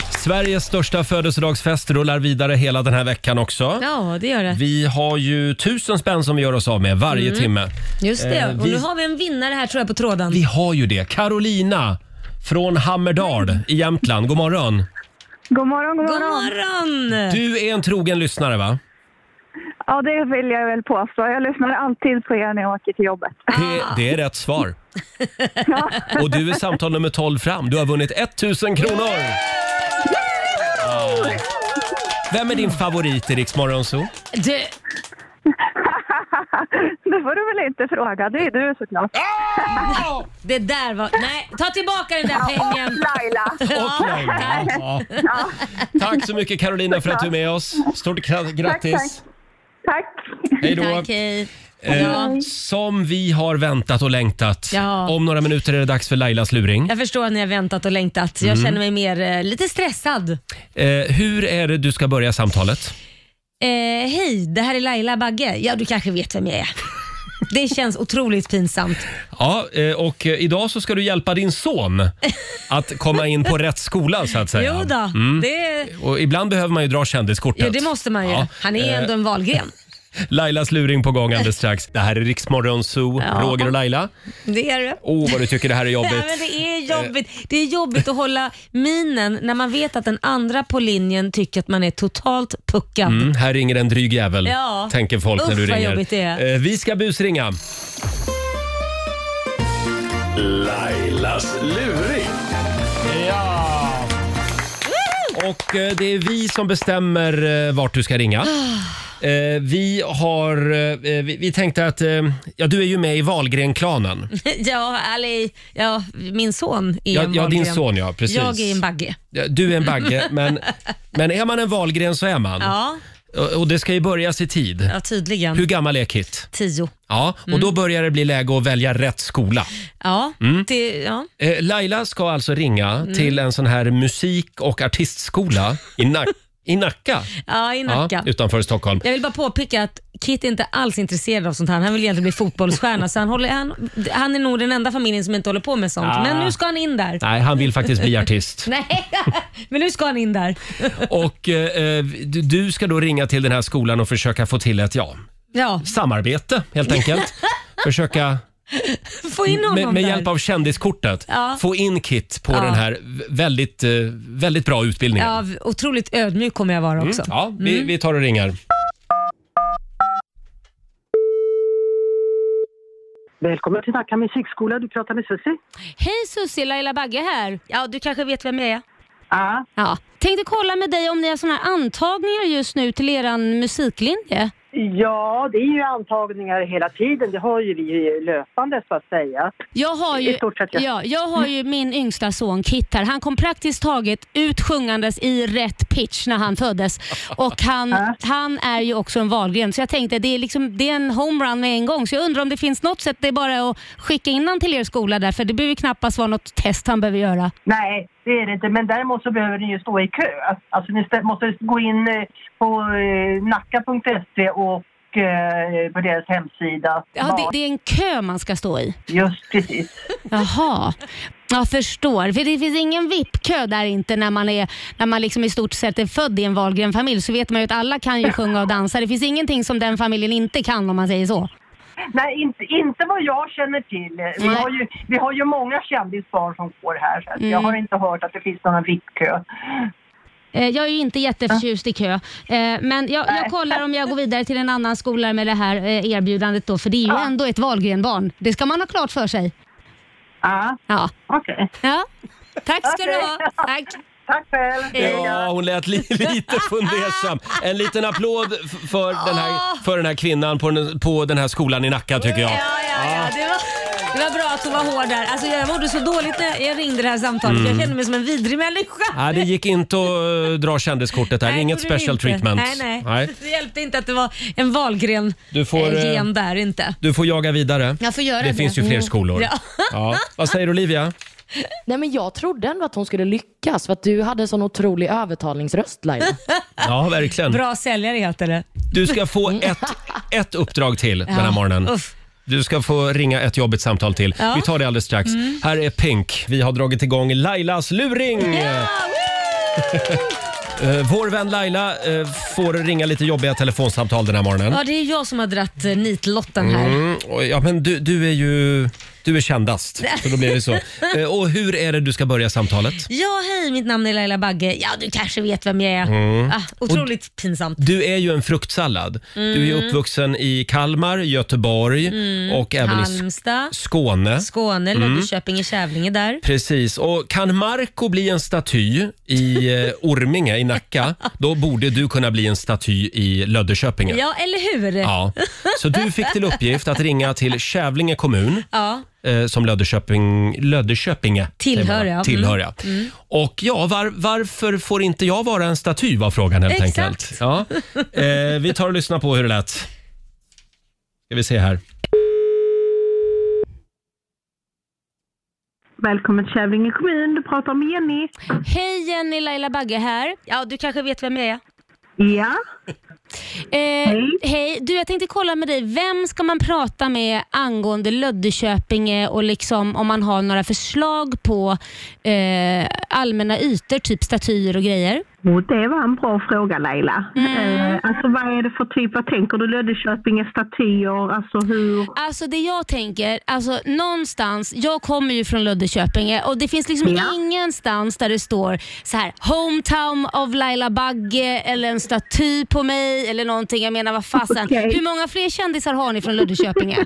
Sveriges största födelsedagsfest rullar vidare hela den här veckan också. ja, det gör det. Vi har ju tusen spänn som vi gör oss av med varje timme. Mm. Just det. Eh, Och vi- nu har vi en vinnare här tror jag på tråden. Vi har ju det. Carolina från Hammerdal i Jämtland. God morgon. God morgon, god God morgon. morgon! Du är en trogen lyssnare va? Ja, det vill jag väl påstå. Jag lyssnar alltid på er när jag åker till jobbet. Det, det är rätt svar. Och du är samtal nummer 12 fram. Du har vunnit 1000 kronor! Ja. Vem är din favorit i Rix Morgonzoo? Det- det får du väl inte fråga. Det är du såklart. det där var... Nej, ta tillbaka den där Och pengen! Laila! Och Laila. Ja. Tack så mycket Carolina för att du är med oss. Stort gra- grattis! Tack! Hej då! Tack, hej. Eh, som vi har väntat och längtat. Ja. Om några minuter är det dags för Lailas luring. Jag förstår att ni har väntat och längtat. Mm. Jag känner mig mer eh, lite stressad. Eh, hur är det du ska börja samtalet? Eh, Hej, det här är Laila Bagge. Ja, du kanske vet vem jag är. Det känns otroligt pinsamt. Ja, eh, och eh, idag så ska du hjälpa din son att komma in på rätt skola så att säga. Mm. Jo då, det, Och ibland behöver man ju dra kändiskortet. ja, det måste man ju. Ja. Eh, Han är ju ändå en valgren. Lailas luring på gång alldeles strax. Det här är Riksmorgon Zoo, Ja. Roger och Laila. Det är det. Åh, vad du tycker det här är Ja, jobbigt. Eh. men det är jobbigt. Det är jobbigt att hålla minen när man vet att den andra på linjen tycker att man är totalt puckad. Mm, här ringer en dryg jävel, Ja. tänker folk när Usch, du vad ringer. jobbigt det är. Eh, Vi ska busringa. Lailas luring. Och eh, det är vi som bestämmer eh, vart du ska ringa. Ah. Eh, Vi har... eh, Vi vi tänkte att... eh, Ja, du är ju med i Wahlgren-klanen. Ja, eller, ja, min son är Ja, en ja, din valgren. son, ja, precis. Jag är en bagge. Ja, Du är en bagge, men, men är man en Wahlgren så är man. Ja, Och- Och det ska ju börjas i tid. ja Mm. tydligen. Mm. Hur gammal är Kit? Tio. Ja, och då börjar det bli läge att välja rätt skola. Ja, Mm. det, ja. Eh, Laila ska alltså ringa Mm. till en sån här musik och artistskola i, Nack- i Nacka. ja i Nacka. Ja, utanför Stockholm. Jag vill bara påpeka att Kit är inte alls intresserad av sånt här. Han vill egentligen bli fotbollsstjärna. Så han, håller, han, han är nog den enda familjen som inte håller på med sånt. Ah. Men nu ska han in där. Nej, han vill faktiskt bli artist. Nej, men nu ska han in där. Och eh, du- du ska då ringa till den här skolan och försöka få till ett ja, Ja, samarbete helt enkelt. Försöka få in honom med, med där. hjälp av kändiskortet Ja. få in Kit på Ja. den här v- väldigt, eh, väldigt bra utbildningen. Ja, otroligt ödmjuk kommer jag vara också. Mm. Mm. Ja, vi, vi tar och ringer. Välkommen till Nacka musikskola. Du pratar med Susie. Hej Susie, Laila Bagge här. Ja, du kanske vet vem jag är? Ja. Ja. Tänkte kolla med dig om ni har såna här antagningar just nu till eran musiklinje? ja, det är ju antagningar hela tiden. Det har ju vi löpande så att säga. Jag har ju, I stort sett, ja. ja. Mm. jag har ju min yngsta son Kit här. Han kom praktiskt taget ut sjungandes i rätt pitch när han föddes. Och han, han är ju också en valgren så jag tänkte det är, liksom, det är en homerun med en gång. Så jag undrar om det finns något sätt, det är bara att skicka in han till er skola där för det behöver ju knappast vara något test han behöver göra. Nej, det är det inte. Men däremot så behöver ni ju stå i kö. Alltså ni stä- måste gå in eh, på eh, nacka.se och eh, på deras hemsida. Ja, det, det är en kö man ska stå i. Just precis. Jaha. Jag förstår. För det finns ingen VIP-kö där inte när man, är, när man liksom i stort sett är född i en valgren familj så vet man ju att alla kan ju sjunga och dansa. Det finns ingenting som den familjen inte kan om man säger så. Nej, inte, inte vad jag känner till. Vi Nej. har ju, vi har ju många kändisbarn som går här. Så att Mm. Jag har inte hört att det finns någon VIP-kö. Eh, Jag är ju inte jätteförtjust i kö, eh, men jag, jag kollar om jag går vidare till en annan skola med det här eh, erbjudandet då, för det är ju ändå ett valgrenbarn. Det ska man ha klart för sig. Ja, Ja. okej. ja. Tack ska du ha. Tack. Tack själv! Ja, hon lät li- lite fundersam. En liten applåd f- för, den här, för den här kvinnan på den, på den här skolan i Nacka tycker jag. Ja, ja, ja. Det, var, det var bra att hon var hård där. Alltså, jag mådde så dåligt när jag ringde det här samtalet. Jag kände mig som en vidrig människa. Mm. Nej, det gick inte att eh, dra kändiskortet här. Nej, Inget gjorde det special inte. treatment. Nej, nej. Det hjälpte inte att det var en valgren Du får, eh, eh, gen där inte. Du får jaga vidare. Jag får göra det. det finns ju fler Mm. skolor. Ja. Ja. Vad säger Olivia? Nej, men jag trodde ändå att hon skulle lyckas för att du hade en sån otrolig övertalningsröst Laila. Ja, verkligen. Bra säljare heter det. Du ska få ett, ett uppdrag till den här Mm. Ja, morgonen. uff. Du ska få ringa ett jobbigt samtal till. Ja. Mm. Vi tar det alldeles strax. Här är Pink. Vi har dragit igång Lailas luring! Eh, Vår vän Laila eh, får ringa lite jobbiga telefonsamtal den här morgonen. Ja, det är jag som har dratt eh, nitlotten här. Mm, och- ja, men du, du är ju du är kändast, så då blir det så. Eh, Och hur är det du ska börja samtalet? Ja, hej, mitt namn är Laila Bagge. Ja, du kanske vet vem jag är. Mm. Ah, otroligt pinsamt. Du är ju en fruktsallad. Du är ju Mm. uppvuxen i Kalmar, Göteborg och även i Sk- Halmstad, Skåne. Skåne, Mm. Löddeköpinge, Kävlinge där. Precis. Och kan Marco bli en staty i eh, Orminge i Nacka, då borde du kunna bli en staty i Löddeköpinge. Ja, eller hur? Ja. Så du fick till uppgift att ringa till Kävlinge kommun Ja. eh, som Löddeköping, Löddeköpinge Tillhör, säger man, ja. Mm. va? Tillhör, ja. Och ja, var, varför får inte jag vara en staty var frågan helt Exakt. enkelt. Ja. Eh, vi tar och lyssnar på hur det lät. Ska vi se här. Välkommen till Kävlinge kommun, du pratar med Jenny. Hej Jenny, Laila Bagge här. ja, du kanske vet vem jag är. Ja, Eh, hej, du jag tänkte kolla med dig. Vem ska man prata med angående Löddeköpinge och liksom om man har några förslag på eh, allmänna ytor, typ statyer och grejer? och det var en bra fråga Laila. Mm. Eh, alltså vad är det för typ, vad tänker du Löddeköpinge statyer, alltså hur? Alltså det jag tänker, alltså någonstans, jag kommer ju från Löddeköpinge och det finns liksom Ja. ingenstans där det står så här hometown of Laila Bagge eller en staty på mig eller någonting. Jag menar vad fasen. Okej. Hur många fler kändisar har ni från Löddeköpinge?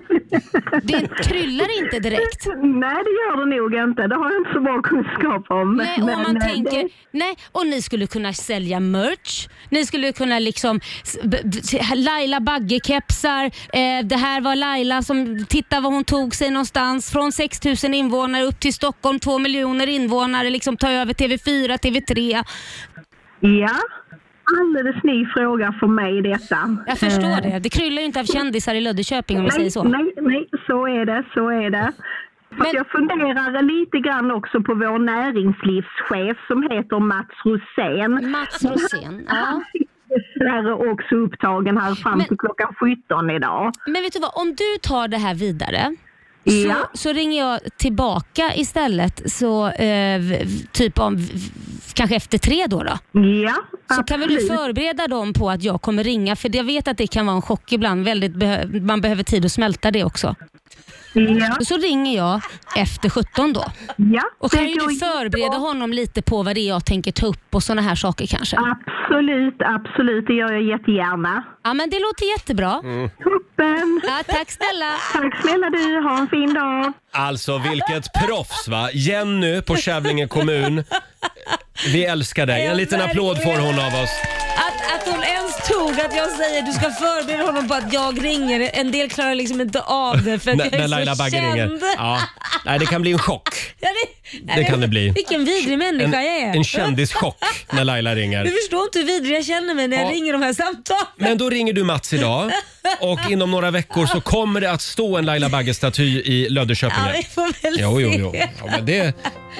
det kryllar inte direkt. Nej det gör det nog inte, det har jag inte så bra kunskap om. Nej, och man Men, eh, tänker, det- nej, och ni skulle kunna sälja merch. Ni skulle kunna liksom, s- b- b- t- Laila Bagge-kepsar. Eh, det här var Laila som, titta vad hon tog sig någonstans. Från 6 000 invånare upp till Stockholm, 2 miljoner invånare. Liksom ta över TV4, TV3. Ja, alldeles ny fråga för mig detta. Jag förstår Eh. det. Det kryllar ju inte av kändisar i Löddeköping om vi säger Nej, så. nej, nej, så är det, så är det. För Men- Jag funderar lite grann också på vår näringslivschef som heter Mats Rosén. Mats Rosén. Ja. Han är dessvärre också upptagen här fram Men- till klockan 17 idag. Men vet du vad, om du tar det här vidare Ja. så, så ringer jag tillbaka istället. Så eh, v- v- typ om, v- v- kanske efter tre då. då. Ja, Så kan väl du absolut. förbereda dem på att jag kommer ringa? För jag vet att det kan vara en chock ibland. Väldigt behö- man behöver tid att smälta det också. Ja, Så ringer jag efter 17 då. ja. Och kan det ju går du förbereda jättebra. honom lite på vad det är jag tänker ta upp och sådana här saker kanske. Absolut, absolut. Det gör jag jättegärna. Ja men det låter jättebra. Toppen! Ja, tack snälla. Tack snälla du, ha en fin dag. Alltså vilket proffs va! Jenny på Kävlinge kommun. Vi älskar dig. En liten applåd får hon av oss. Att, att hon ens tog att jag säger du ska förbereda honom på att jag ringer. En del klarar liksom inte av det för att När, jag är när Laila så Bagge känd. ringer. Ja. Nej, det kan bli en chock. Ja, det, nej, Det men kan det bli. Vilken vidrig En, människa jag är. en kändischock när Laila ringer. Du förstår inte hur vidrig jag känner mig när jag Ja. ringer de här samtalen. Men då ringer du Mats idag och inom några veckor så kommer det att stå en Laila Bagge-staty i Ja, Löddeköpinge. vi får väl Jo, jo, se. jo. Ja, men det,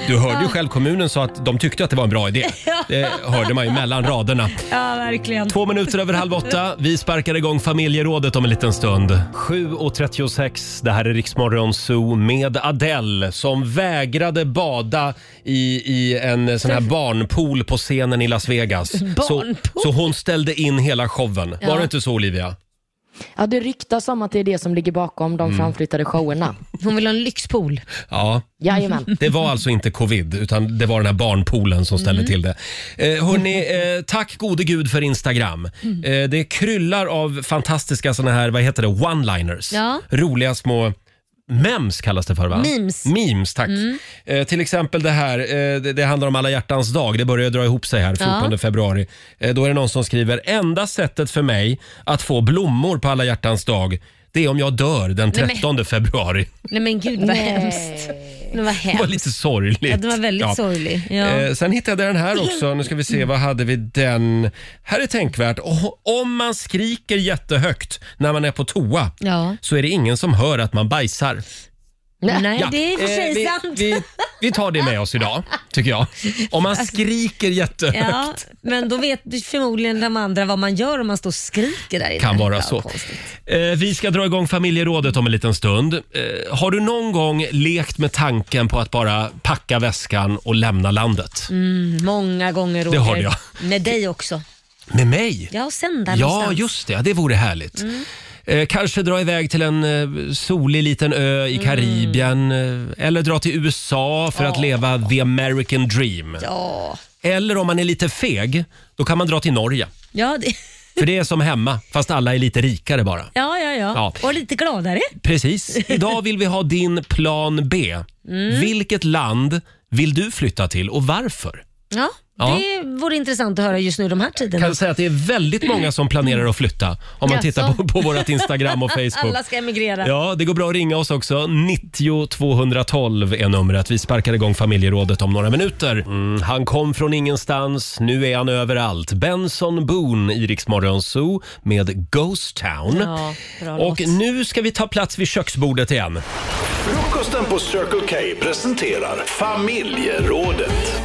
du hörde ju själv, kommunen sa att de tyckte att det var en bra idé. Det hörde man ju mellan raderna. Ja, verkligen. Två minuter över halv åtta. Vi sparkar igång familjerådet om en liten stund. 7.36, det här är Riksmorgon Zoo med Adele som vägrade bada i, i en sån här barnpool på scenen i Las Vegas. Så, Barnpool? så hon ställde in hela showen. Var det inte så Olivia? Ja, det ryktas om att det är det som ligger bakom Mm. de framflyttade showerna. Hon vill ha en lyxpool. Ja, Jajamän. Mm. det var alltså inte covid utan det var den här barnpoolen som ställde Mm. till det. Eh, hörni, eh, tack gode gud för Instagram. Mm. Eh, det kryllar av fantastiska såna här, vad heter det, one-liners. Ja. Roliga små Mems kallas det för va? Memes. Mm. Memes, tack. Eh, till exempel det här, eh, det, det handlar om alla hjärtans dag. Det börjar dra ihop sig här 14 februari. Eh, då är det någon som skriver, enda sättet för mig att få blommor på alla hjärtans dag det är om jag dör den men- 13 februari. Nej men gud vad hemskt. Det Det var var hemskt. lite sorgligt. Ja, det var väldigt Ja. sorglig. Ja. Eh, sen hittade jag den här också. Nu ska vi se, vad hade vi den? Här är tänkvärt. O- Om man skriker jättehögt när man är på toa Ja. så är det ingen som hör att man bajsar. Nej, Ja, det är i och för sig eh, vi, sant. Vi, vi tar det med oss idag, tycker jag. Om man skriker jättehögt. Ja, men då vet du förmodligen de andra vad man gör om man står och skriker där inne. Kan vara Ja, så. konstigt. Eh, Vi ska dra igång familjerådet om en liten stund. Eh, Har du någon gång lekt med tanken på att bara packa väskan och lämna landet? Mm. Många gånger Roger. Det har jag. Med dig också. Med mig? Ja, och sen där Ja, någonstans. Mm. just det. Det vore härligt. Eh, kanske dra iväg till en eh, solig liten ö Mm. i Karibien eh, eller dra till USA för att leva the American dream. Ja, Eller om man är lite feg, då kan man dra till Norge. ja, det, För det är som hemma, fast alla är lite rikare bara. ja, ja, ja. Ja. Och lite gladare. Precis. Idag vill vi ha din plan B. Mm. Vilket land vill du flytta till och varför? Ja, Ja. Det vore intressant att höra just nu de här tiderna. kan säga att det är väldigt många som planerar att flytta om man tittar på, på vårt Instagram och Facebook. Alla ska emigrera. Ja, det går bra att ringa oss också. 90 212 är numret. Vi sparkar igång familjerådet om några minuter. Mm, han kom från ingenstans, nu är han överallt. Benson Boone i Rix Morgon Zoo med Ghost Town. Ja, bra Och låt. nu ska vi ta plats vid köksbordet igen. Frukosten på Circle K presenterar familjerådet.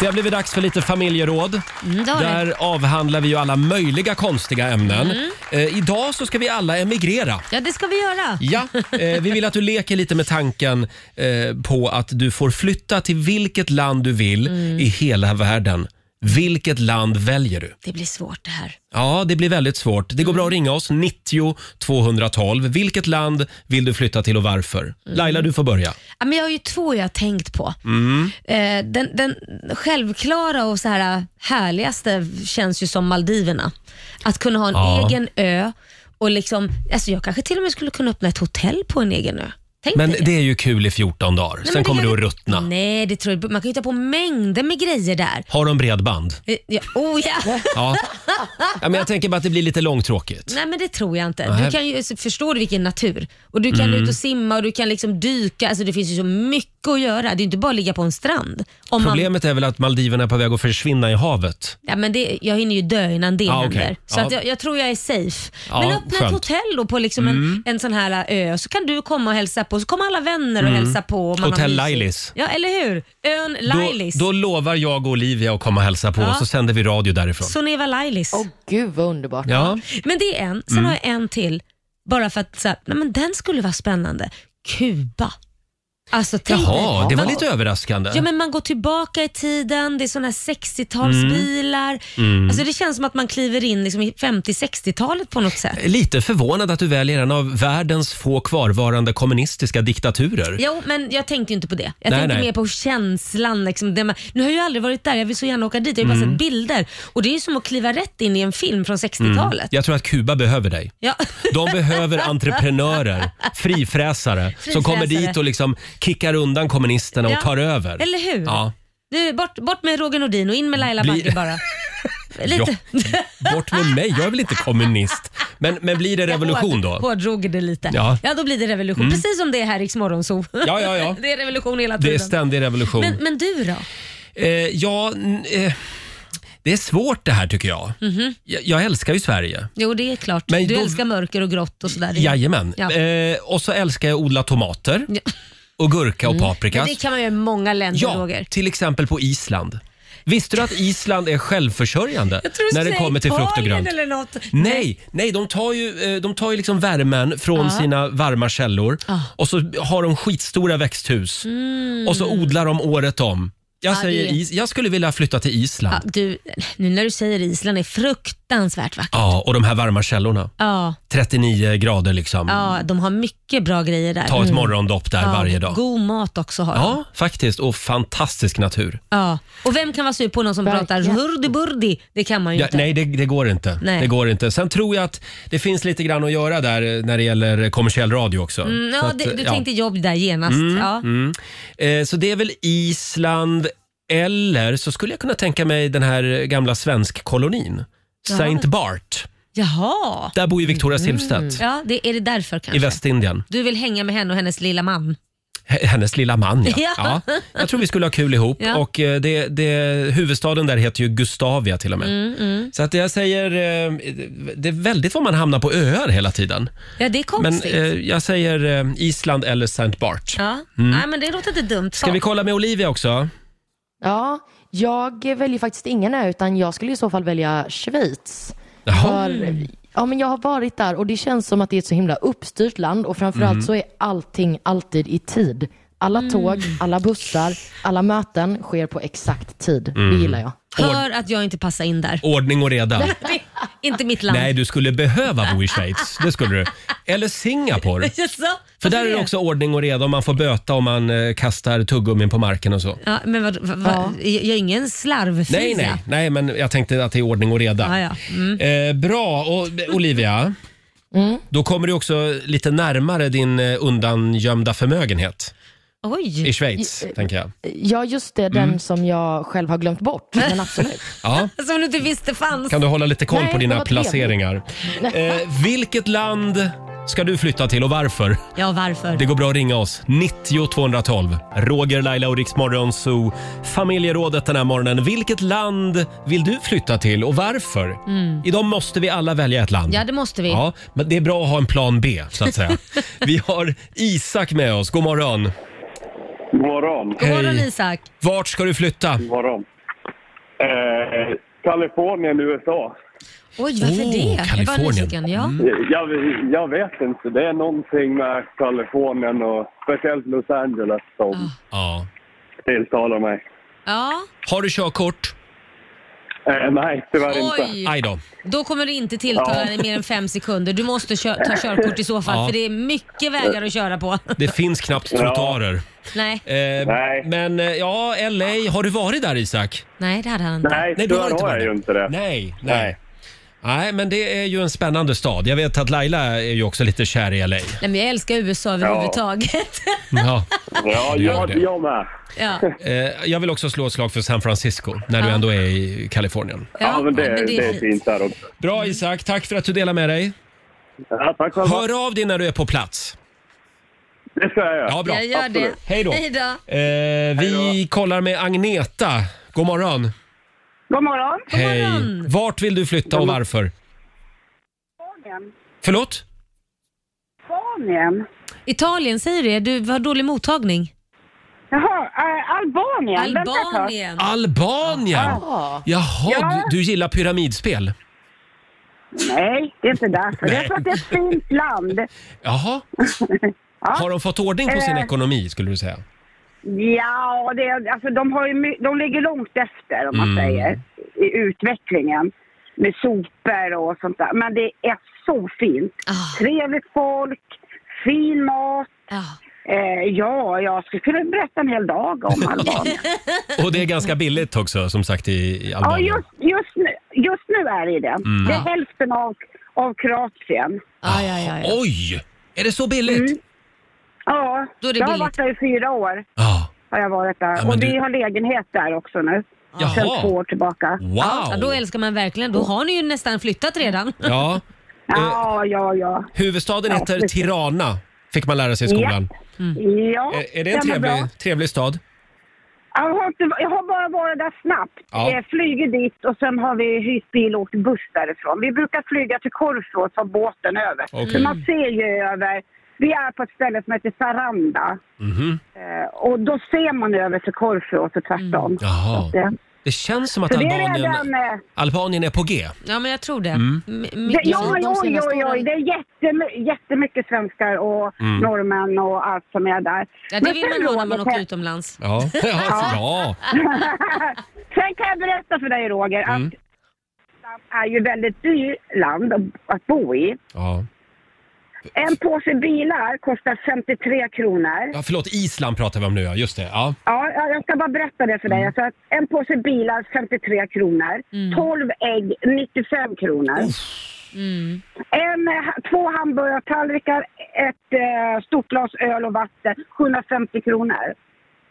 Det har blivit dags för lite familjeråd. Mm, det har det. Mm. Där avhandlar vi ju alla möjliga konstiga ämnen. Eh, idag så ska vi alla emigrera. Ja, det ska vi göra. Ja, eh, vi vill att du leker lite med tanken eh, på att du får flytta till vilket land du vill i hela världen. Vilket land väljer du? Det blir svårt det här. Ja, det blir väldigt svårt. Det går bra att ringa oss, 90 212. Vilket land vill du flytta till och varför? Laila, du får börja. Ja, men jag har ju två jag har tänkt på. Mm. Eh, den, den självklara och så här äh, härligaste känns ju som Maldiverna. Att kunna ha en Ja. egen ö och liksom, alltså jag kanske till och med skulle kunna öppna ett hotell på en egen ö. Tänk Men dig det är ju kul i 14 dagar. Nej, Sen men kommer du gör att det- ruttna. Nej, det tror jag Man kan hitta på mängder med grejer där. Har de bredband? Eh, Ja, oh ja! Ja. ja men jag tänker bara att det blir lite långtråkigt. Nej men det tror jag inte. Nej. Du kan ju, alltså, förstår du vilken natur? Och Du kan Mm. ut och simma och du kan liksom dyka. Alltså det finns ju så mycket att göra. Det är ju inte bara att ligga på en strand. Om man, Problemet är väl att Maldiverna är på väg att försvinna i havet. ja, men det, jag hinner ju dö innan det Ja, händer. Ah, okej. Så Ja. att jag, jag tror jag är safe. Ja, men öppna skönt. Mm. ett hotell då på liksom en, en sån här ö så kan du komma och hälsa på. Så kommer alla vänner och hälsa på. och Man har Mm. Hotell mysigt. Lailis. Ja eller hur? Ön Lailis. Då, då lovar jag och Olivia att komma och hälsa på och så sänder vi radio därifrån. Soneva Lailis. Åh gud vad underbart. Ja. Men det är en. Sen Mm. har jag en till. Bara för att så här, nej, men den skulle vara spännande. Kuba. Alltså, tänk Jaha, dig. det var Man- lite överraskande. Ja, men man går tillbaka i tiden, det är såna här 60-talsbilar. Mm. Alltså, det känns som att man kliver in liksom i 50-60-talet på något sätt. Lite förvånad att du väljer en av världens få kvarvarande kommunistiska diktaturer. Jo, men jag tänkte ju inte på det. Jag Nej, tänkte nej. mer på känslan. Liksom, det man, nu har jag ju aldrig varit där, jag vill så gärna åka dit. Jag har ju bara Mm. sett bilder. Och Det är ju som att kliva rätt in i en film från 60-talet. Jag tror att Kuba behöver dig. Ja. De behöver entreprenörer, frifräsare, som Frifräsare. kommer dit och liksom kickar undan kommunisterna och Ja, tar över. eller hur? Ja. Du, bort, bort med Roger Nordin och in med Laila Blir- Bagge bara. Lite. Ja, bort med mig, jag är väl inte kommunist. Men, men blir det revolution Hård- då? Hårdrog det lite. Ja. Mm. Ja. då blir det revolution. Precis som det är här i Morgonzoo. Ja, ja, ja. Det är revolution hela Det tiden. är ständig revolution. men, men du då? Eh, ja, n- eh, det är svårt det här tycker jag. Mhm. jag. Jag älskar ju Sverige. Jo, det är klart. Men du då- älskar mörker och grått och sådär. Jajamän. Ja. Eh, och så älskar jag att odla tomater Ja. och gurka och paprika. Men det kan man göra i många länder, Ja, Roger. till exempel på Island. Visste du att Island är självförsörjande Jag tror du när det säger kommer till frukt och Italien grönt? Eller något. Nej, nej, de tar ju, eh, de tar ju liksom värmen från sina varma källor Ah. och så har de skitstora växthus och så odlar de året om. Jag, Mm. Ja, säger, det- is, jag skulle vilja flytta till Island. Ja, du, nu när du säger Island är fruktansvärt vackert. Ja, och de här varma källorna. Ja. 39 grader liksom. Ja, de har mycket bra grejer där. Ta ett Mm. morgondopp där Ja, varje dag. God mat också har de. Ja, faktiskt. Och fantastisk natur. Ja. Och vem kan vara sur på någon som pratar Verkligen. hurdi-burdi? Det kan man ju Ja, inte. nej, det, det går inte. Nej. Det går inte. Sen tror jag att det finns lite grann att göra där eh, när det gäller kommersiell radio också. Mm, Så ja, att, eh, det, du ja. tänkte jobb där genast. ja. Mm. Eh, Så det är väl Island eller så skulle jag kunna tänka mig den här gamla svensk-kolonin. Saint Bart. Jaha. Där bor ju Victoria Silvstedt Mm. Ja, det, är det därför i kanske? Västindien. Du vill hänga med henne och hennes lilla man. H- Hennes lilla man, ja. ja. Ja. Jag tror vi skulle ha kul ihop. Ja. Och eh, det, det, huvudstaden där heter ju Gustavia till och Mm. med. Så att jag säger, eh, det är väldigt vad man hamnar på öar hela tiden. Ja, det är Men konstigt. eh, jag säger eh, Island eller Saint Bart. ja. Nej, men det låter inte dumt. Ska vi kolla med Olivia också? Ja, jag väljer faktiskt ingen ö, utan jag skulle i så fall välja Schweiz. Jaha. För, ja, men jag har varit där och det känns som att det är ett så himla uppstyrt land och framförallt så är allting alltid i tid. Alla tåg, alla bussar, alla möten sker på exakt tid. Det gillar jag. Hör att jag inte passar in där. Ordning och reda. Det är inte mitt land. Nej, du skulle behöva bo i Schweiz. Det skulle du. Eller Singapore. Jaså? För Varför där är det också ordning och reda och man får böta om man eh, kastar tuggummin på marken och så. Ja, men vad, vad, vad, Jag är ingen slarvfisa. Nej, nej, nej, men jag tänkte att det är ordning och reda. Ja, ja. Mm. Eh, bra, och eh, Olivia. Mm. Då kommer du också lite närmare din eh, undangömda förmögenhet i Oj. Schweiz, Mm. tänker jag. Ja, just det, den som jag själv har glömt bort. Men absolut. Ja. Som du inte visste fanns. Kan du hålla lite koll Nej, på dina vad trevligt. placeringar? Eh, vilket land ska du flytta till och varför? Ja, varför? Det går bra att ringa oss. 90 212. Roger, Laila och Riksmorgon Zoo. Familjerådet den här morgonen. Vilket land vill du flytta till och varför? Mm. Idag måste vi alla välja ett land. Ja, det måste vi. Ja, men det är bra att ha en plan B så att säga. vi har Isak med oss. God morgon. God morgon. God morgon Hej. Isak. Vart ska du flytta? God morgon. Eh, Kalifornien, USA. Oj, varför Åh, det? Jag var Oh, Kalifornien. Mm. nyfiken. Ja. Jag, jag vet inte. Det är någonting med Kalifornien och speciellt Los Angeles som Ah. Ja. tilltalar mig. ja. Har du körkort? Eh, nej, tyvärr inte. Oj. Aj då. Då kommer det inte tilltala dig mer än fem sekunder. Du måste kö- ta körkort i så fall, Ja. för det är mycket vägar att köra på. Det finns knappt trottoarer. Nej, Eh, Nej. Men eh, ja, LA. Har du varit där Isak? nej det hade han inte. Nej, Nej, du har tyvärr inte har varit jag ju där. inte det. Nej, nej. Nej. Nej, men det är ju en spännande stad. Jag vet att Laila är ju också lite kär i LA. Nej, men jag älskar USA överhuvudtaget. Ja. Ja, Du gör jag, det. jag med. Ja. Eh, jag vill också slå ett slag för San Francisco när du Ja. ändå är i Kalifornien. Ja, men det, det, är fint. fint där också. Mm. Bra Isak, tack för att du delar med dig. Ja, tack själva. Hör av dig när du är på plats. Det ska jag göra. Ja, bra. Jag gör det. Absolut. Hej då. Hej då. Eh, vi kollar med Agneta. God morgon. God morgon. Hej. morgon. Vart vill du flytta och varför? Förlåt? Albanien. Italien säger det. Du har dålig mottagning. Jaha, äh, Albanien. Vänta ett tag. Albanien. Albanien! Jaha, du, du gillar pyramidspel? Nej, det är inte därför. Nej. Jag tror att det är ett fint land. Jaha. Har de fått ordning på Eh. sin ekonomi skulle du säga? Ja, det, är- alltså, de, har ju, my- de ligger långt efter om man säger i utvecklingen med sopor och sånt där. Men det är så fint. Ah. Trevligt folk, fin mat. Ja. Eh, ja, jag skulle kunna berätta en hel dag om Albanien. Och det är ganska billigt också som sagt i, i ja, Albanien. just, just, nu, just nu är det det. Mm. Det är hälften av, av Kroatien. Ja, ja, ja, ja. Oj! Är det så billigt? Ja, Då är det jag har billigt. varit där i fyra år. Ja. Har jag varit där. men och du- vi har lägenhet där också nu. Sen Jaha. Eh. två år tillbaka. Ja, då Wow! älskar man verkligen. Då har ni ju nästan flyttat redan. Ja. Ja, ja, ja. Huvudstaden Ja, heter precis. Tirana, fick man lära sig i skolan. Mm. ja Är, är det en den var bra. trevlig, trevlig stad? Jag har, inte, jag har bara varit där snabbt. Ja. Eh, flyger dit och sen har vi hyrt bil och åkt buss därifrån. Vi brukar flyga till Korfu och ta båten över. Okej. Så man ser ju över. Vi är på ett ställe som heter Saranda. Mhm. Eh, och då ser man över till Korfu och så tvärtom. Mm. Jaha. Så att, eh, Det känns som att Så det är Albanien, redan... Eh, Albanien är på G. Ja, men jag tror det. Mm. M- det, mycket- ja, de oj, senaste oj, oj. åren. Mm. Det är jättemy- jättemycket svenskar och norrmän och allt som är där. Ja, det Men vill sen, man ha när man Roger, åker utomlands. Ja. ja. Sen kan jag berätta för dig Mm. Roger att Island är ju väldigt dyrt land att bo i. ja. En påse bilar kostar 53 kronor. Ja, förlåt, Island pratar vi om nu ja, just det. Ja. Ja, ja, jag ska bara berätta det för Mm. dig. Alltså att en påse bilar 53 kronor, 12 ägg 95 kronor. En, eh, ha- två hamburgartallrikar, ett eh, stort glas öl och vatten 750 kronor.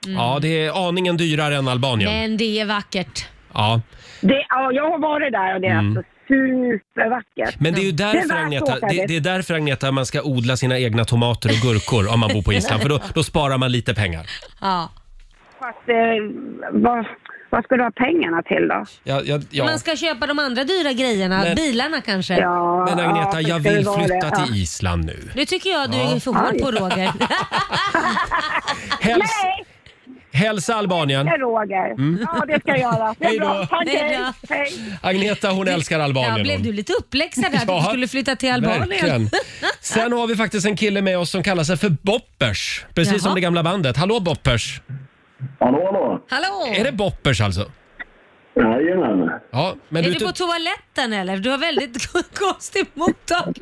Mm. ja, det är aningen dyrare än Albanien. Men det är vackert. Ja. Det, ja, jag har varit där och det är alltså supervackert. Mm. Men det är ju därför, värt att Agneta, åka det, dit. det är därför Agneta, man ska odla sina egna tomater och gurkor om man bor på Island. För då, då sparar man lite pengar. Ja. Fast, eh, vad, vad ska du ha pengarna till då? Ja, ja, ja. Man ska köpa de andra dyra grejerna, Men- bilarna kanske. Ja, Men ja, Agneta, jag ska det vill vara det? flytta Ja. till Island nu. Nu tycker jag du är för hård på Roger. Häls, Nej, hälsa Albanien. det är Roger. Ja, det ska jag göra. Det Mm. Hej är då. bra. Tack, Hej då. hej. Hej. Agneta, hon älskar Ja, Albanien. blev hon. du lite uppläxad här Ja, att du skulle flytta till Albanien? Verkligen. Sen har vi faktiskt en kille med oss som kallar sig för Boppers. Precis som Jaha. det gamla bandet. Hallå Boppers! Hallå, hallå! Hallå! Är det Boppers alltså? Jajamän. Ja, men Är du, du på toaletten eller? Du har väldigt konstig mottagning.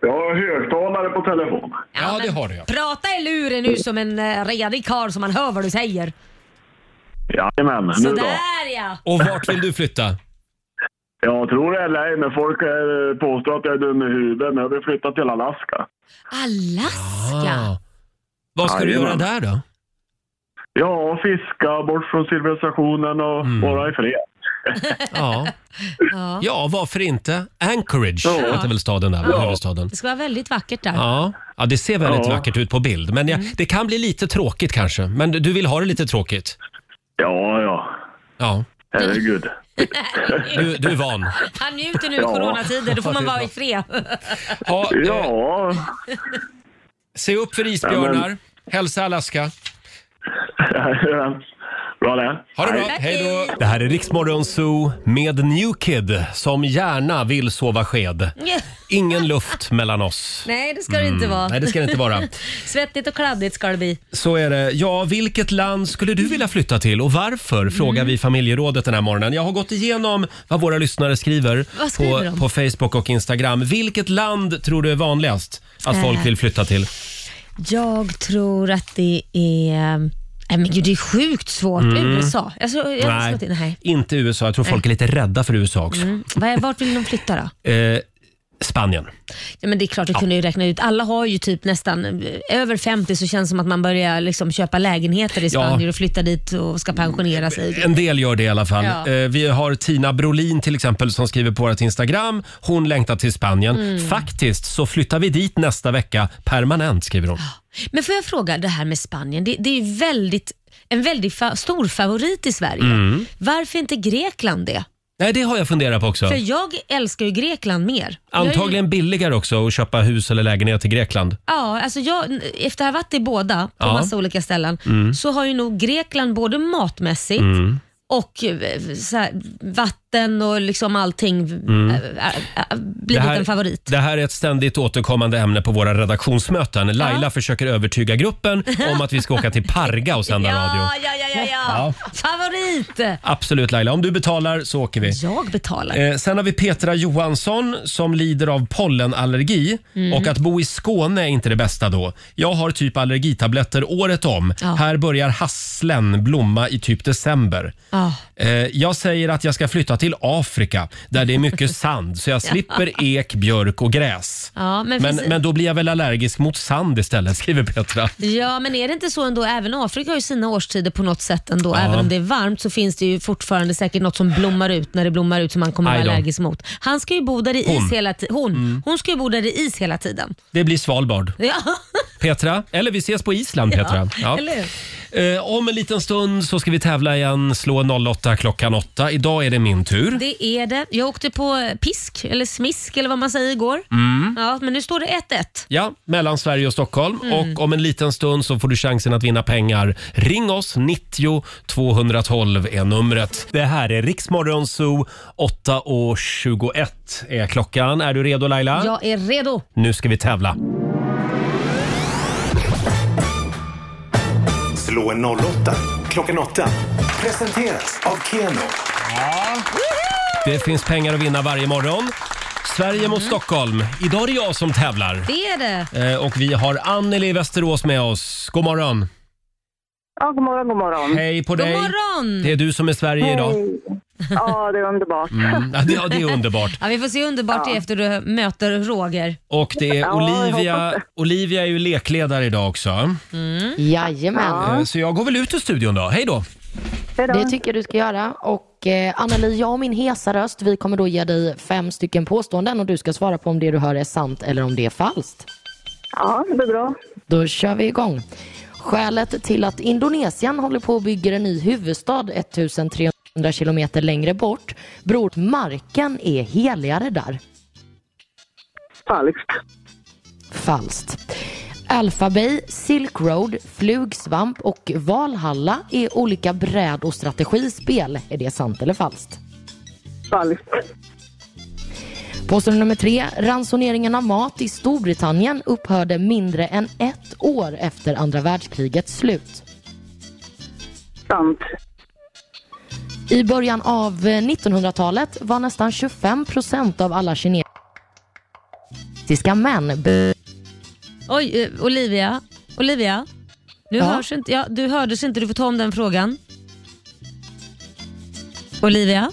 Jag har högtalare på telefon. Ja, det har du ja. Prata i luren nu som en eh, redig karl så man hör vad du säger. Jajamän, nu då. Sådär ja! Och vart vill du flytta? Jag tror det eller ej, men folk eh, påstår att jag är dum i huvudet, men jag vill flytta till Alaska. Alaska. Ah. Vad ska du göra Jajamän. där då? Ja, fiska bort från civilisationen och Mm. vara i fred. Ja. ja, varför inte? Anchorage Ja. heter väl staden där, huvudstaden. Det ska vara väldigt vackert där. Ja. ja, det ser väldigt Ja. vackert ut på bild. Men ja, Mm. det kan bli lite tråkigt kanske. Men du vill ha det lite tråkigt? Ja, ja. Ja, Herregud. du, du är van. Han njuter nu i Ja. coronatider, då får man det är vara bra. i fred. Ja, eh, Ja, Se upp för Ja, isbjörnar. Hälsa Alaska. bra det. Ha det bra. Tack, Hej då. hej. Det här är Riksmorgon Zoo med New Kid som gärna vill sova sked. Ingen luft mellan oss. Nej, det ska Mm. det inte vara. Mm. Nej, det ska det inte vara. Svettigt och kladdigt ska det bli. Så är det. Ja, vilket land skulle du vilja flytta till och varför? Mm. Frågar vi familjerådet den här morgonen. Jag har gått igenom vad våra lyssnare skriver, Vad skriver på, de? på Facebook och Instagram. Vilket land tror du är vanligast att folk Äh. vill flytta till? Jag tror att det är... Nej, men gud, det är sjukt svårt. Mm. USA. Jag, tror- jag har slått in, nej. inte USA. Jag tror folk är lite rädda för USA också. Var- Vart vill de flytta då? Eh, Spanien. Ja, men det är klart, det kunde ju räkna ut. Alla har ju typ nästan eh, över 50 så känns det som att man börjar liksom köpa lägenheter i Spanien och flytta dit och ska Mm. pensionera sig. En del gör det i alla fall. Ja. Eh, Vi har Tina Brolin till exempel som skriver på vårt Instagram. Hon längtar till Spanien. Mm. Faktiskt så flyttar vi dit nästa vecka permanent skriver hon. Men får jag fråga, det här med Spanien, det, det är ju väldigt, en väldigt fa- stor favorit i Sverige. Mm. Varför inte Grekland det? Nej, det har jag funderat på också. För jag älskar ju Grekland mer. Jag är ju- Antagligen billigare också att köpa hus eller lägenhet i Grekland. Ja, alltså jag, efter att ha varit i båda på Ja. Mm. massa olika ställen så har ju nog Grekland både matmässigt och eh, så här, vatten och liksom allting eh, eh, eh, blivit en favorit. Mm. det här är ett ständigt återkommande ämne på våra redaktionsmöten. Laila försöker övertyga gruppen om att vi ska åka till Parga och sända radio. Ja, ja, ja, ja, ja. Favorit! Absolut Laila, om du betalar så åker vi. Jag betalar. Eh, sen har vi Petra Johansson som lider av pollenallergi Mm. och att bo i Skåne är inte det bästa då. Jag har typ allergitabletter året om. Ja. Här börjar hasslen blomma i typ december. Ja. Eh, jag säger att jag ska flytta till Afrika där det är mycket sand så jag slipper ek, björk och gräs. Ja, men men, finns- men då blir jag väl allergisk mot sand istället, skriver Petra. Ja, men är det inte så ändå? Även Afrika har ju sina årstider på något sätt ändå. Även om det är varmt så finns det ju fortfarande säkert något som blommar ut när det blommar ut som man kommer Aj vara då. allergisk mot. Han ska ju bo där i Hon. Mm. is hela tiden. Hon. Hon ska ju bo där i is hela tiden. Det blir Svalbard. Ja. Petra, eller vi ses på Island Petra. Ja. Eller hur? Eh, om en liten stund så ska vi tävla igen. Slå 08 klockan 8. Idag är det min tur. Det är det. Jag åkte på pisk, eller smisk eller vad man säger igår. Mm. Ja, men nu står det 1-1. Ja, mellan Sverige och Stockholm. Mm. Och om en liten stund så får du chansen att vinna pengar. Ring oss, 90 212 är numret. Det här är Riksmorgon Zoo, 8 år 21 är klockan. Är du redo Laila? Jag är redo. Nu ska vi tävla. Slå en 08 klockan 8. Presenteras av Keno. Det finns pengar att vinna varje morgon. Sverige Mm. mot Stockholm. Idag är det jag som tävlar. Det är det. Eh, Och vi har Anneli i Västerås med oss. God morgon. Oh, Ja, god morgon, god morgon. Hej på dig. Det är du som är Sverige idag. Hej. Ja, det är underbart. Mm. Ja, det- Ja, det är underbart. Ja, vi får se hur underbart det är efter du möter Roger. Och det är Ja, jag hoppas Olivia. det. Olivia är ju lekledare idag också. Jajamän. Eh, Så jag går väl ut ur studion då. Hej då. Det tycker jag du ska göra. Och eh, Anneli, jag och min hesa röst, vi kommer då ge dig fem stycken påståenden och du ska svara på om det du hör är sant eller om det är falskt. Ja, det blir bra. Då kör vi igång. Skälet till att Indonesien håller på och bygger en ny huvudstad 1300 kilometer längre bort beror på att marken är heligare där. Falskt. Falskt. Alphabay, Silk Road, Flugsvamp och Valhalla är olika bräd och strategispel. Är det sant eller falskt? Falskt. Påstående nummer tre. Ransoneringen av mat i Storbritannien upphörde mindre än ett år efter andra världskrigets slut. Sant. I början av eh, 1900-talet var nästan 25 procent av alla kinesiska män be- Oj, eh, Olivia. Olivia. Nu Ja. hörs inte, ja, du hördes inte, du får ta om den frågan. Olivia?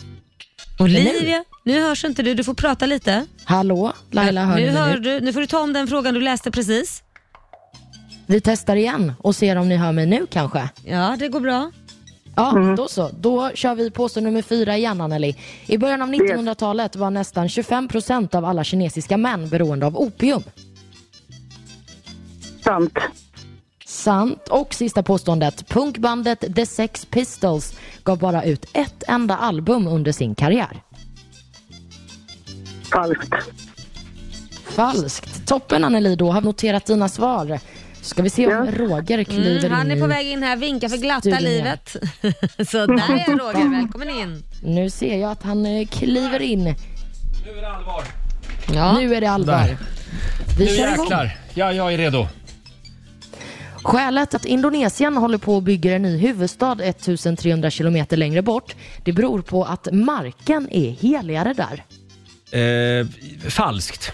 Olivia? Nu hörs inte du, du får prata lite. Hallå, Laila hör nu, ni hör mig nu? du, nu får du ta om den frågan du läste precis. Vi testar igen och ser om ni hör mig nu kanske. Ja, det går bra. Ja, Mhm. då så. Då kör vi påstående nummer fyra igen, Anneli. I början av 1900-talet var nästan 25 procent av alla kinesiska män beroende av opium. Sant. Sant. Och sista påståendet. Punkbandet The Sex Pistols gav bara ut ett enda album under sin karriär. Falskt. Falskt. Toppen, Anneli. Då har vi noterat dina svar. Ska vi se om Roger kliver Mm, han in är på i- väg in här, vinkar för glatta studion igen. livet. Så där är Roger, välkommen in. Nu ser jag att han eh, kliver in. Nu är det allvar. Nu är det allvar. Där. Vi nu kör igång. jäklar. Ja, jag är redo. Skälet att Indonesien håller på att bygga en ny huvudstad 1300 kilometer längre bort, det beror på att marken är heligare där. Eh, falskt.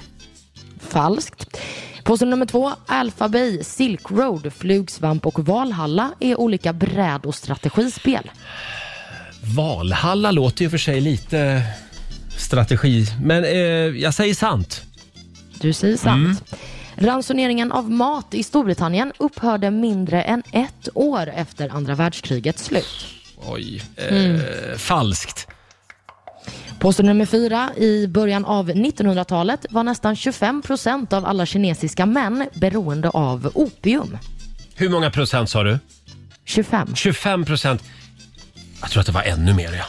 Falskt. Påstående nummer två. Alphabay, Silk Road, Flugsvamp och Valhalla är olika bräd och strategispel. Valhalla låter ju för sig lite strategi, men eh, jag säger sant. Du säger sant. Ransoneringen av mat i Storbritannien upphörde mindre än ett år efter andra världskrigets slut. Oj. Eh, Falskt. Påstående nummer fyra. I början av 1900-talet var nästan 25 procent av alla kinesiska män beroende av opium. Hur många procent sa du? 25. 25 procent. Jag tror att det var ännu mer. Ja.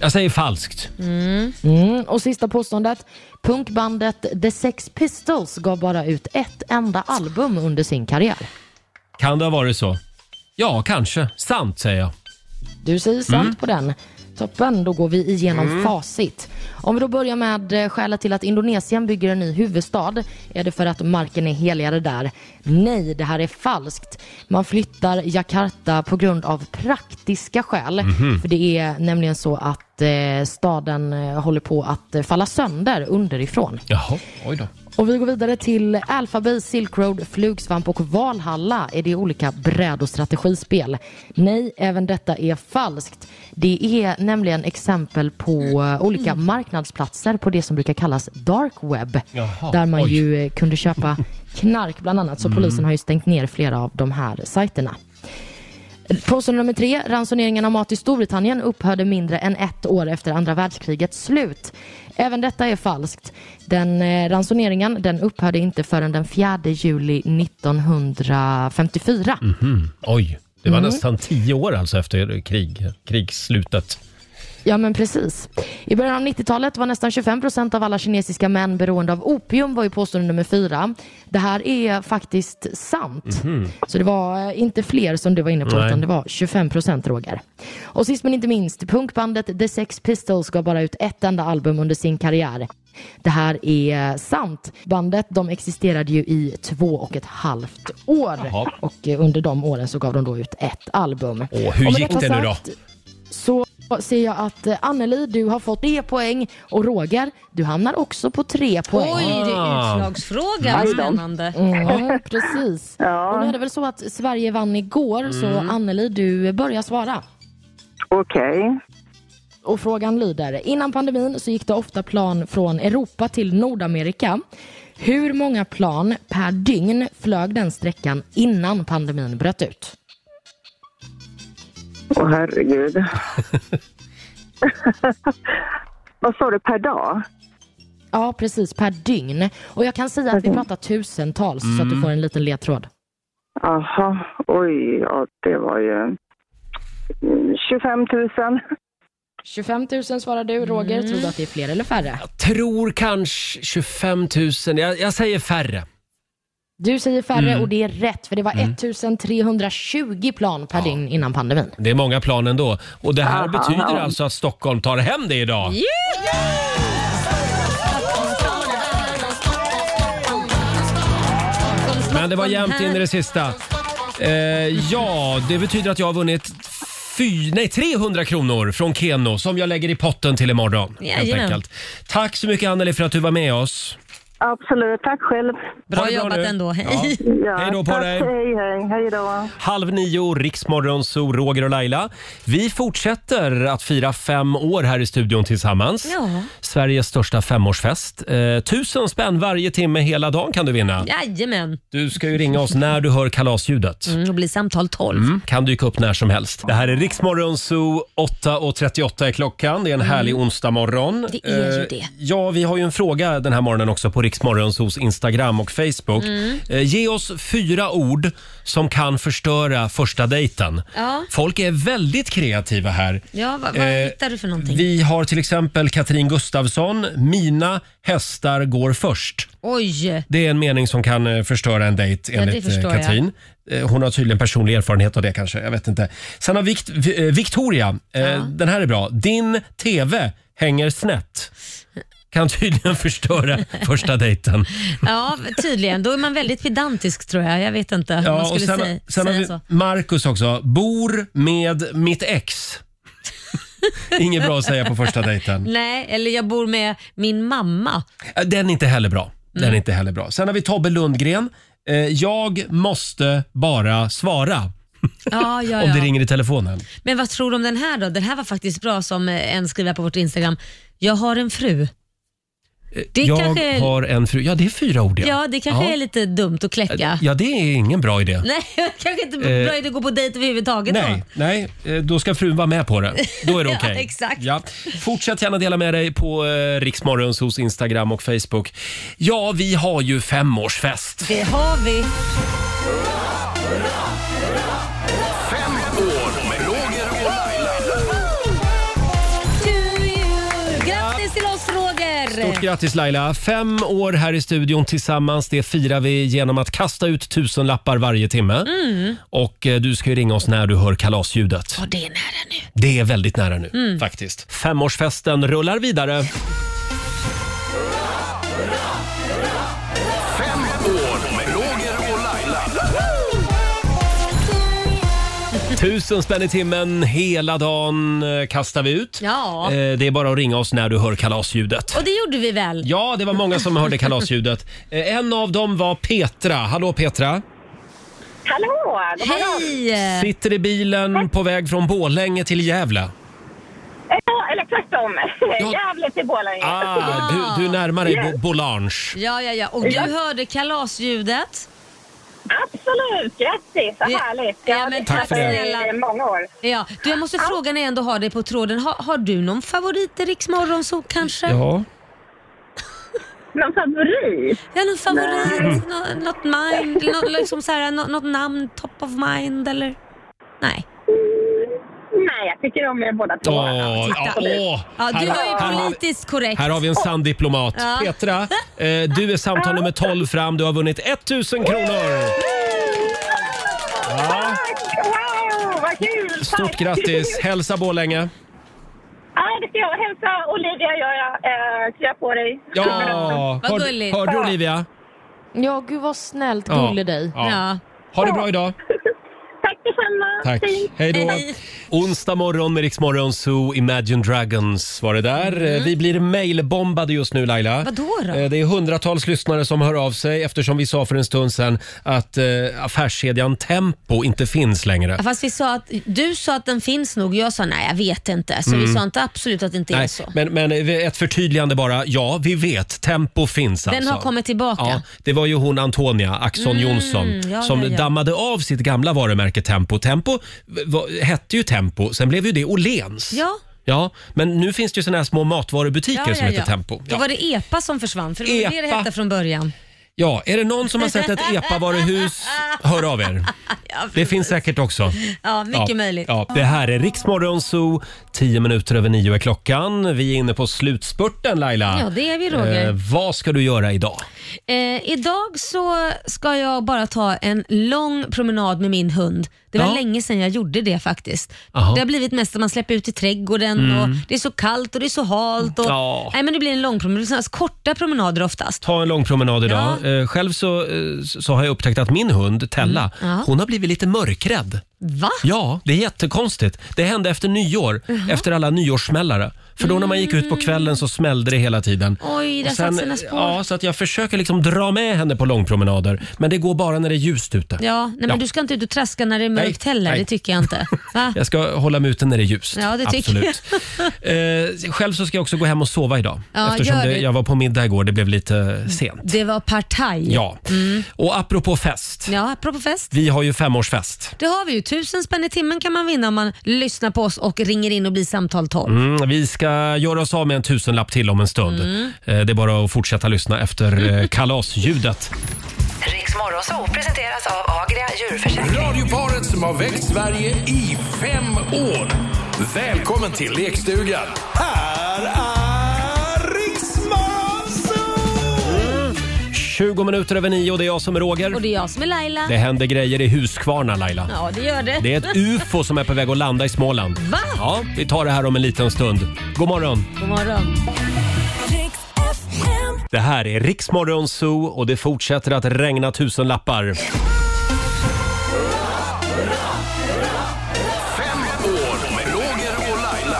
Jag säger falskt. Mm. Och sista påståendet. Punkbandet The Sex Pistols gav bara ut ett enda album under sin karriär. Kan det ha varit så? Ja, kanske. Sant säger jag. Du säger sant Mm. på den. Toppen, då går vi igenom Mm. facit. Om vi då börjar med eh, skälet till att Indonesien bygger en ny huvudstad. Är det för att marken är heligare där? Nej, det här är falskt. Man flyttar Jakarta på grund av praktiska skäl. Mhm. För det är nämligen så att eh, staden eh, håller på att eh, falla sönder underifrån. Jaha, oj då. Och vi går vidare till Alphabay, Silk Road, Flugsvamp och Valhalla. Är det olika bräd och strategispel? Nej, även detta är falskt. Det är nämligen exempel på eh, olika Mm. marknadsplatser på det som brukar kallas dark web. Jaha, där man oj. ju eh, kunde köpa knark bland annat. Så Mm. polisen har ju stängt ner flera av de här sajterna. Påstående nummer tre. Ransoneringen av mat i Storbritannien upphörde mindre än ett år efter andra världskrigets slut. Även detta är falskt. Den eh, ransoneringen den upphörde inte förrän den 4 juli 1954. Mhm. Oj, det var Mm. nästan tio år alltså efter krig, krigsslutet. Ja, men precis. I början av 90-talet var nästan 25 procent av alla kinesiska män beroende av opium, var ju påstående nummer fyra. Det här är faktiskt sant. Mhm. Så det var eh, inte fler som du var inne på, Nej. utan det var 25 procent, Roger. Och sist men inte minst, punkbandet The Sex Pistols gav bara ut ett enda album under sin karriär. Det här är sant. Bandet de existerade ju i två och ett halvt år. Jaha. Och eh, under de åren så gav de då ut ett album. Och hur Och med gick detta det nu då? sagt Så Så ser jag att eh, Anneli, du har fått tre poäng och Roger, du hamnar också på tre poäng. Oj, Ah. det är utslagsfråga. Aj då. Spännande. Ja, precis. Och nu är det väl så att Sverige vann igår, så Mm. Anneli, du börjar svara. Okej. Och frågan lyder, innan pandemin så gick det ofta plan från Europa till Nordamerika. Hur många plan per dygn flög den sträckan innan pandemin bröt ut? Åh herregud. Vad sa du, per dag? Ja, precis, per dygn. Och jag kan säga att vi pratar tusentals, så Mm. att du får en liten ledtråd. Jaha, oj, ja, det var ju... mm, 25 000. 25 000 svarar du, Roger. Mm. Tror du att det är fler eller färre? Tror kanske 25 000. Jag, jag säger färre. Du säger färre Mm. och det är rätt, för det var 1320 plan per dygn innan pandemin. Det är många plan ändå. Och det här Aha. betyder alltså att Stockholm tar hem det idag. Men det var jämnt in i det sista. Eh, ja, det betyder att jag har vunnit fy, nej, 300 kronor från Keno som jag lägger i potten till imorgon. Helt Jajamän. enkelt. Tack så mycket Anneli för att du var med oss. Absolut, tack själv. Bra det bra jobbat nu. ändå, hej. Ja. Hej då på tack, dig. Hej, hej, hej då. Halv nio, Riksmorgon, så Roger och Laila. Vi fortsätter att fira fem år här i studion tillsammans. Ja. Sveriges största femårsfest. Eh, tusen spänn varje timme hela dagen kan du vinna. Jajamän. Du ska ju ringa oss när du hör kalasljudet. Mm, då blir samtal 12. Mm, kan dyka upp när som helst. Det här är Riksmorgon Zoo, 8.38 är klockan. Det är en härlig onsdag morgon. Mm. Det är ju Eh, det. Ja, vi har ju en fråga den här morgonen också på Riksmorgon Zoos Instagram och Facebook. Mm. Eh, Ge oss fyra ord som kan förstöra första dejten. Ja. Folk är väldigt kreativa här. Ja, vad, vad Eh, hittar du för någonting? Vi har till exempel Katrin Gustavsson, “Mina hästar går först”. Oj! Det är en mening som kan eh, förstöra en dejt Ja, det enligt eh, förstår jag. Katrin. Eh, Hon har tydligen personlig erfarenhet av det kanske. Jag vet inte. Sen har Vikt, Vi- eh, Victoria, eh, den här är bra. Din TV hänger snett. Kan tydligen förstöra första dejten. Ja, tydligen. Då är man väldigt pedantisk tror jag. Jag vet inte hur man Ja, och skulle sen, säga, sen har säga vi så. Marcus också. Bor med mitt ex. Inget bra att säga på första dejten. Nej, eller jag bor med min mamma. Eh, Den är inte heller bra. Den är inte heller bra. Sen har vi Tobbe Lundgren. Eh, Jag måste bara svara. Ja, ja, Om ja. det ringer i telefonen. Men vad tror du om den här då? Den här var faktiskt bra som eh, en skriver på vårt Instagram. Jag har en fru. Det jag kanske- har en fru. Ja, det är fyra ord. Ja, det kanske ja. Eh, är lite dumt att kläcka. Ja, det är ingen bra idé. Nej, kanske inte Eh, bra idé att gå på dejt överhuvudtaget Nej, då. nej, eh, då ska frun vara med på det. Då är det Ja, okej. exakt. Ja. Fortsätt gärna dela med dig på eh, Riksmorgons hos Instagram och Facebook. Ja, vi har ju femårsfest. Det har vi. År med Roger och Laila. To you. Grattis till oss Roger! Stort grattis Laila! Fem år här i studion tillsammans. Det firar vi genom att kasta ut tusenlappar varje timme. Mm. Och eh, du ska ju ringa oss när du hör kalasljudet. Ja, det är nära nu. Det är väldigt nära nu Mm. faktiskt. Femårsfesten rullar vidare. År med Roger och Laila. Tusen spänn i timmen hela dagen eh, kastar vi ut. Ja. Eh, Det är bara att ringa oss när du hör kalasljudet. Och det gjorde vi väl? Ja, det var många som hörde kalasljudet. Eh, En av dem var Petra. Hallå Petra! Hallå! god morgon. Eh. Sitter i bilen på väg från Borlänge till Gävle. Ja, eller tvärtom. Gävle till Borlänge. Ah, du, du närmar dig Bo- Bolange. Ja, ja, ja. Och du Ja. hörde kalasljudet? Absolut, grattis. Vad Ja. härligt. Jag har men tack lyssnat för det. i många år. Ja, du, jag måste fråga när jag ändå har dig på tråden. Har, har du någon favorit i Rix Morgonzoo kanske? Någon favorit? Ja, någon favorit, alltså, nå- något mind, något, liksom så här, nå- något namn, top of mind eller? Nej. Nej, jag tycker om er båda två. Åh, ja, åh. Ja, du Här- var ju här har- politiskt korrekt. Här har vi en sann diplomat. Ja. Petra, eh, du är samtal nummer 12 fram. Du har vunnit 1000 kronor! Ja. Wow, vad kul! Tack. Stort grattis! Hälsa Borlänge! Ja, det ska jag. Hälsa Olivia gör jag. Eh, krya på dig. Ja, Vad hör- gulligt. hörde du Olivia? Ja, gud vad snällt Ja. gullig dig. Ja. Ha det bra idag! Tack detsamma. Tack. Hej då. Onsdag morgon med Rix Morgon Zoo, Imagine Dragons var det där. Eh, Vi blir mailbombade just nu Laila. Vadå då? Eh, Det är hundratals lyssnare som hör av sig eftersom vi sa för en stund sedan att eh, affärskedjan Tempo inte finns längre. Ja, Fast vi sa att, du sa att den finns nog, jag sa nej jag vet inte. Så vi Mm. sa inte absolut att det inte är Nej, så. men, men ett förtydligande bara. Ja, vi vet. Tempo finns Den alltså. har kommit tillbaka. Ja, det var ju hon Antonia Axon Mm, Johnson ja, som ja, ja. dammade av sitt gamla varumärke Tempo. Tempo v- var, hette ju Tempo, sen blev ju det Åhléns. Ja. Ja, men nu finns det ju såna här små matvarubutiker som heter Tempo. Då Ja. var det EPA som försvann, för det var det det hette från början. ja, är det någon som har sett ett EPA-varuhus, hör av er. det finns säkert också. Ja, mycket möjligt. Ja. Det här är Riksmorgon Zoo, 10 minuter över nio är klockan. Vi är inne på slutspurten Laila. Ja, det är vi, Roger. Eh, vad ska du göra idag? Eh, idag så ska jag bara ta en lång promenad med min hund. Det var Ja. länge sedan jag gjorde det faktiskt. Jaha. Det har blivit mest att man släpper ut i trädgården Mm. och det är så kallt och det är så halt. Och, Ja. nej, men det blir en lång promenad. Det är sådana korta promenader oftast. Ta en lång promenad idag. Eh, själv så, eh, så har jag upptäckt att min hund Tella, Mm, ja. hon har blivit lite mörkrädd. Va? Ja, det är jättekonstigt. Det hände efter nyår, Jaha. efter alla nyårssmällare. För då när man gick ut på kvällen så smällde det hela tiden. Mm. Oj, där Och satt sina spår. Ja, så att jag försöker liksom dra med henne på långpromenader. Men det går bara när det är ljust ute. Ja, nej, men Ja. Du ska inte ut och traska när det är mörkt heller, nej. det tycker jag inte. Va? Jag ska hålla mig ute när det är ljust. Ja, det tycker Absolut. Eh, själv så ska jag också gå hem och sova idag. Ja, eftersom gör det, det. jag var på middag igår. Det blev lite sent. Det var partaj. Ja. Mm. Och apropå fest. Ja, apropå fest. Vi har ju femårsfest. Det har vi ju. Tusen spänn i timmen kan man vinna om man lyssnar på oss och ringer in och blir samtal 12. Mm, vi ska göra oss av med en tusenlapp till om en stund. Mm. Eh, Det är bara att fortsätta lyssna efter eh, kalasljudet. Riks Morgonzoo presenteras av Agria djurförsäkring. Radioparet som har väckt Sverige i fem år. Välkommen till lekstugan. Här är Riksmorgon 20 minuter över nio och det är jag som är Och Roger. det är jag som är Laila. Det händer grejer i Huskvarna, Laila. Ja, det gör det. Det är ett UFO som är på väg att landa i Småland. Va? Ja, vi tar det här om en liten stund. God morgon! God morgon. Det här är Riksmorgon Zoo och det fortsätter att regna tusenlappar. år med Roger och Laila.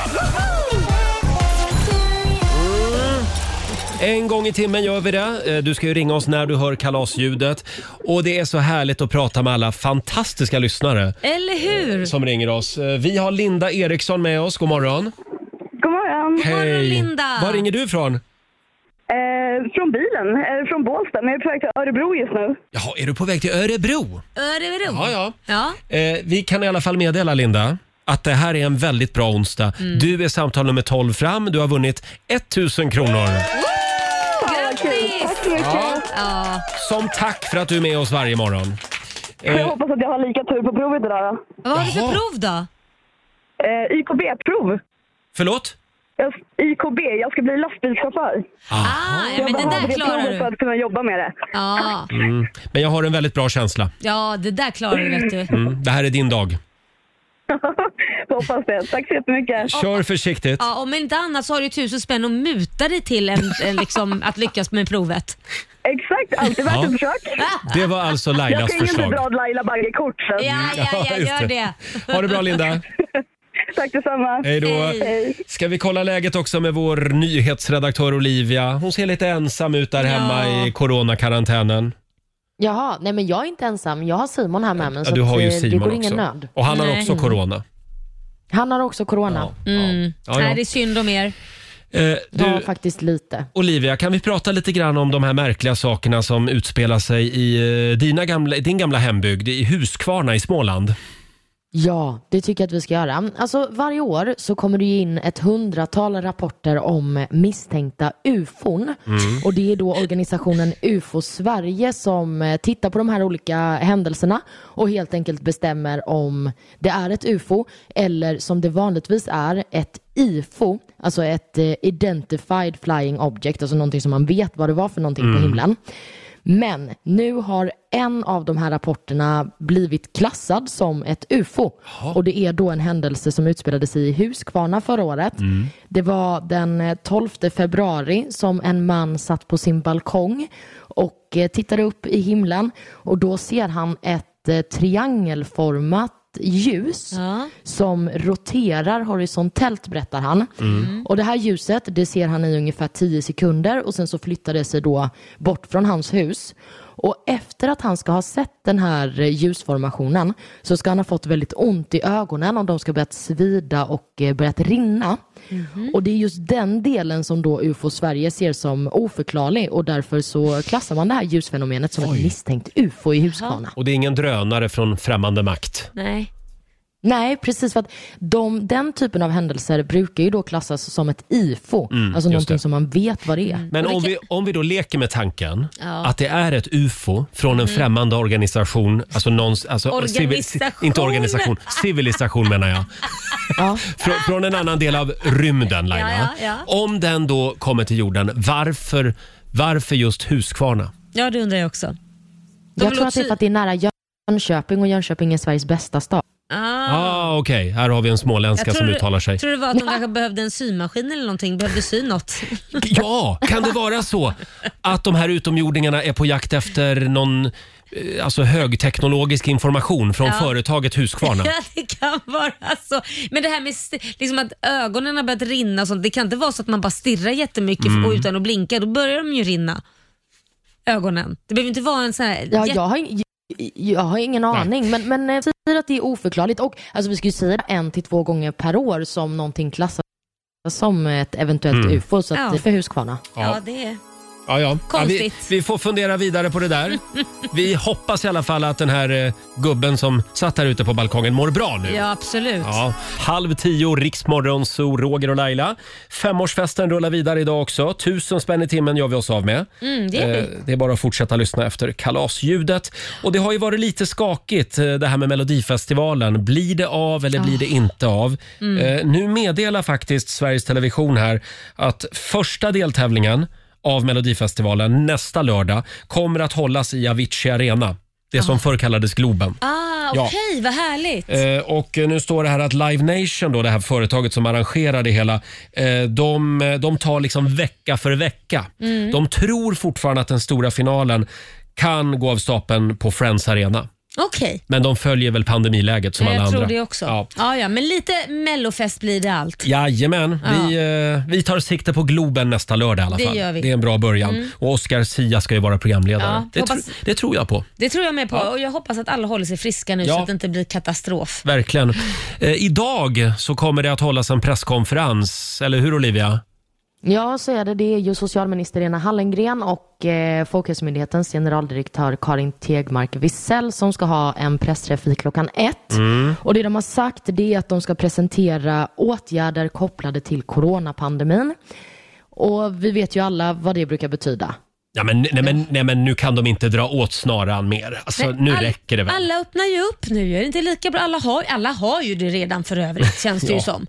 En gång i timmen gör vi det. Eh, Du ska ju ringa oss när du hör kalasljudet. Och det är så härligt att prata med alla fantastiska lyssnare Eller hur? som ringer oss. Eh, Vi har Linda Eriksson med oss. God morgon. God morgon. Hej. Var ringer du ifrån? Eh, från bilen, eh, från Bålsta, men jag är på väg till Örebro just nu. Jaha, är du på väg till Örebro? Örebro. Ja, ja. ja. Eh, vi kan i alla fall meddela, Linda, att det här är en väldigt bra onsdag. Mm. Du är samtal nummer 12 fram. Du har vunnit 1000 kronor. Grattis! Tack så mycket. Ja. Ja. Som tack för att du är med oss varje morgon. Eh, Jag hoppas att jag har lika tur på provet idag då. Vad har du för Jaha. prov då? Eh, IKB-prov. förlåt? Jag, IKB, jag ska bli lastbilschaufför. Ah, ja, men det där behöver klarar provet du. för att kunna jobba med det. Ja. Mm. Men jag har en väldigt bra känsla. ja, det där klarar du vet du. Mm. Det här är din dag. hoppas det. Tack så jättemycket. Kör försiktigt. Ja, om inte annat så har du tusen spänn att muta dig till en, en, liksom, att lyckas med provet. Exakt, alltid värt Ja. ett försök. Det var alltså jag Lailas ska in och förslag. dra ett Laila Bagge-kort sen. Ja, just Ha det bra Linda. Tack detsamma. Hej då. Ska vi kolla läget också med vår nyhetsredaktör Olivia? Hon ser lite ensam ut där hemma i coronakarantänen. Jaha, nej men jag är inte ensam. Jag har Simon här med mig. Ja, du har ju att, eh, det Simon går ingen också. nöd. Och han har också corona. Han har också corona. Mm. Ja, ja. Nej, det är synd om er. Eh, du, faktiskt lite. Olivia, kan vi prata lite grann om de här märkliga sakerna som utspelar sig i eh, dina gamla, din gamla hembygd, i Huskvarna i Småland? Ja, det tycker jag att vi ska göra. Alltså, varje år så kommer det ju in ett hundratal rapporter om misstänkta ufon. Mm. Och det är då organisationen UFO Sverige som eh, tittar på de här olika händelserna och helt enkelt bestämmer om det är ett ufo eller som det vanligtvis är ett IFO, alltså ett eh, Identified Flying Object, alltså någonting som man vet vad det var för någonting på Mm. himlen. Men nu har en av de här rapporterna blivit klassad som ett UFO. Och det är då en händelse som utspelade sig i Huskvarna förra året. Mm. Det var den eh, 12 februari som en man satt på sin balkong och eh, tittade upp i himlen och då ser han ett eh, triangelformat ljus som roterar horisontellt, berättar han. Mm. Och det här ljuset, det ser han i ungefär 10 sekunder och sen så flyttar det sig då bort från hans hus. Och efter att han ska ha sett den här eh, ljusformationen så ska han ha fått väldigt ont i ögonen och de ska börjat svida och eh, börjat rinna. Och det är just den delen som då UFO Sverige ser som oförklarlig och därför så klassar man det här ljusfenomenet som ett misstänkt UFO i Huskvarna. Och det är ingen drönare från främmande makt. Nej. Nej, precis. För att de, den typen av händelser brukar ju då klassas som ett IFO, Mm, alltså just någonting det. som man vet vad det är. Men om vi, om vi då leker med tanken Ja. att det är ett UFO från en Mm. främmande organisation, alltså, någons, alltså Organisation. civi- inte organisation, civilisation menar jag. från, från en annan del av rymden Laila. Ja, ja, Om den då kommer till jorden, varför, varför just Huskvarna? Ja, det undrar jag också. De Jag tror låter- att det är för att det är nära Jönköping och Jönköping är Sveriges bästa stad. Ah. Ah, Okej, här har vi en småländska som uttalar sig. tror det var att de kanske behövde en symaskin eller någonting, behövde sy något. Ja, kan det vara så att de här utomjordingarna är på jakt efter någon eh, alltså högteknologisk information från Ja. företaget Husqvarna? Ja, det kan vara så. Men det här med st- liksom att ögonen har börjat rinna och sånt, det kan inte vara så att man bara stirrar jättemycket Mm. och utan att blinka, då börjar de ju rinna. Ögonen. Det behöver inte vara en sån här... Ja, jätte- jag, har, ing- jag har ingen aning, men, men eh, säger att det är oförklarligt. Och, alltså, vi ska ju säga det en till två gånger per år som någonting klassas som ett eventuellt Mm. UFO, så att Ja. det är för Huskvarna. Ja, det är... Ja, ja. Ja, vi, Konstigt. vi får fundera vidare på det där. Vi hoppas i alla fall att den här eh, gubben som satt här ute på balkongen mår bra nu. Ja, absolut. Ja, halv tio, Riksmorgon, så Roger och Laila. Femårsfesten rullar vidare idag också. Tusen spänn i timmen gör vi oss av med. Eh, Mm, det är vi. det är bara att fortsätta lyssna efter kalasljudet. Och det har ju varit lite skakigt eh, det här med Melodifestivalen. Blir det av eller Ah. blir det inte av? Mm. Eh, Nu meddelar faktiskt Sveriges Television här att första deltävlingen av Melodifestivalen nästa lördag kommer att hållas i Avicii Arena. Det som förr kallades Globen. Ah, Ja. okej, vad härligt. Eh, och nu står det här att Live Nation, då, det här företaget som arrangerar det hela, eh, de, de tar liksom vecka för vecka. Mm. De tror fortfarande att den stora finalen kan gå av stapeln på Friends Arena. Okej. Men de följer väl pandemiläget som Ja, jag alla tror andra. det också. Ja. Ja. Ja, men lite mellofest blir det allt. Jajamän, vi, eh, vi tar sikte på Globen nästa lördag i alla Det fall. gör vi. Det är en bra början. Mm. Och Oscar Sia ska ju vara programledare. Ja, det, hoppas- tro, det tror jag på. Det tror jag med på Ja. och jag hoppas att alla håller sig friska nu Ja. så att det inte blir katastrof. Verkligen. Eh, idag så kommer det att hållas en presskonferens, eller hur Olivia? Ja, så är det. Det är ju socialminister Lena Hallengren och eh, Folkhälsomyndighetens generaldirektör Karin Tegmark Wisell som ska ha en pressträff vid klockan ett. Och det de har sagt det är att de ska presentera åtgärder kopplade till coronapandemin. Och vi vet ju alla vad det brukar betyda. Ja, men, nej, men, nej, men nu kan de inte dra åt snaran mer. Alltså, Nej, nu all- räcker det väl? Alla öppnar ju upp nu, är det inte lika bra? Alla har, alla har ju det redan för övrigt känns det Ja. ju som.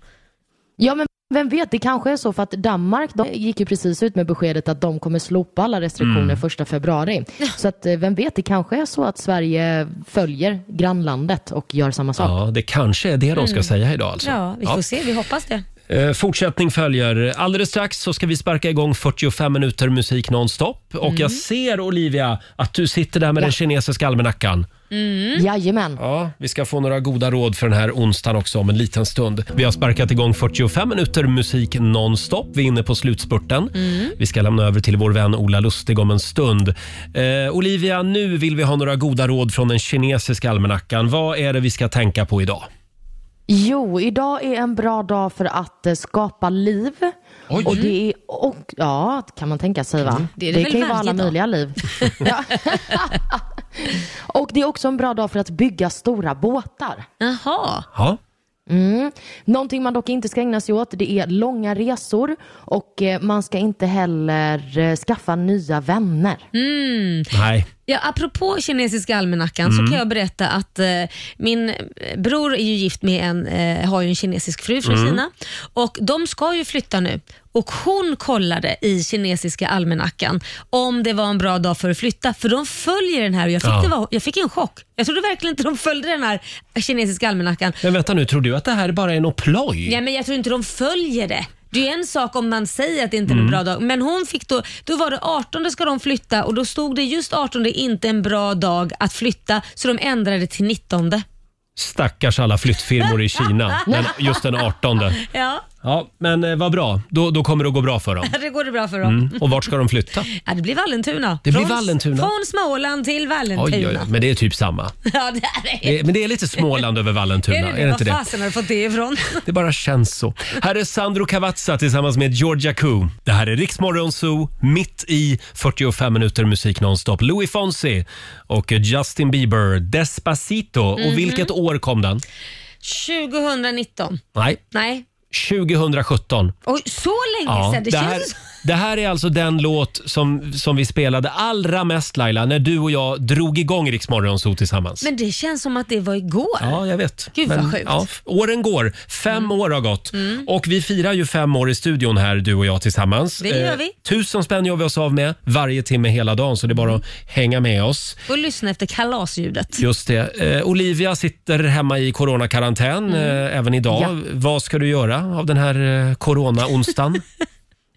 Ja, men vem vet, det kanske är så för att Danmark de gick ju precis ut med beskedet att de kommer slopa alla restriktioner Mm. första februari. Så att, eh, vem vet, det kanske är så att Sverige följer grannlandet och gör samma sak. Ja, det kanske är det de ska Mm. säga idag alltså. Ja, vi får se, vi hoppas det. Eh, fortsättning följer. Alldeles strax så ska vi sparka igång 45 minuter musik nonstop. Och Mm. jag ser Olivia att du sitter där med Ja. den kinesiska almanackan. Mm. Jajamän. Ja, vi ska få några goda råd för den här onsdagen också om en liten stund. Vi har sparkat igång 45 minuter musik nonstop. Vi är inne på slutspurten. Mm. Vi ska lämna över till vår vän Ola Lustig om en stund. Eh, Olivia, nu vill vi ha några goda råd från den kinesiska almanackan. Vad är det vi ska tänka på idag? Jo, idag är en bra dag för att eh, skapa liv. Oj. Och det är och, ja, kan man tänka sig va? Det är det väl kan ju vara varje alla dag. möjliga liv. Ja. och det är också en bra dag för att bygga stora båtar. Jaha. Ja. Mm. Någonting man dock inte ska ägna sig åt det är långa resor och eh, man ska inte heller eh, skaffa nya vänner. Mm. Nej. Ja, apropå kinesiska almanackan så Mm. kan jag berätta att eh, min eh, bror är ju gift med en, eh, har ju en kinesisk fru från Mm. Kina och de ska ju flytta nu. Och Hon kollade i kinesiska almanackan om det var en bra dag för att flytta, för de följer den här och jag fick, Ja. det var, jag fick en chock. Jag trodde verkligen inte de följde den här kinesiska almanackan. Men vänta nu, tror du att det här bara är något ploj? Ja, men jag tror inte de följer det. Det är en sak om man säger att det inte är en Mm. bra dag, men hon fick då, då var det 18 ska de flytta och då stod det just 18 inte en bra dag att flytta, så de ändrade till 19. Stackars alla flyttfirmor i Kina den, just den 18. Ja, Ja, men eh, vad bra. Då, då kommer det att gå bra för dem. det går det bra för dem. Mm. Och vart ska de flytta? Ja, det blir Vallentuna. Det blir Vallentuna. Från Småland till Vallentuna. Oj, oj, oj. Men det är typ samma. Ja, där är Det, Eh, men det är lite Småland över Vallentuna. Är det, det? det inte Var det? fasen har du fått det ifrån? Det bara känns så. Här är Sandro Cavazza tillsammans med Georgia Koo. Det här är Riksmorgon Zoo, mitt i 45 minuter musik nonstop. Louis Fonsi och Justin Bieber, Despacito. Mhm. Och vilket år kom den? 2019. Nej, Nej, 2017. oj, så länge sedan. Det, det, här, känns... det här är alltså den låt som, som vi spelade allra mest Laila, när du och jag drog igång Riksmorgon Zoo tillsammans. Men det känns som att det var igår. Ja, jag vet. Gud, vad sjukt. Mm. Ja, f- åren går. Fem år har gått. Och vi firar ju fem år i studion här, du och jag tillsammans. Eh, Det gör vi. tusen spänn gör vi oss av med varje timme hela dagen, så det är bara att hänga med oss. Och lyssna efter kalasljudet. Just det. Eh, Olivia sitter hemma i coronakarantän Mm. eh, även idag. Ja. Vad ska du göra av den här eh, corona-onsdagen?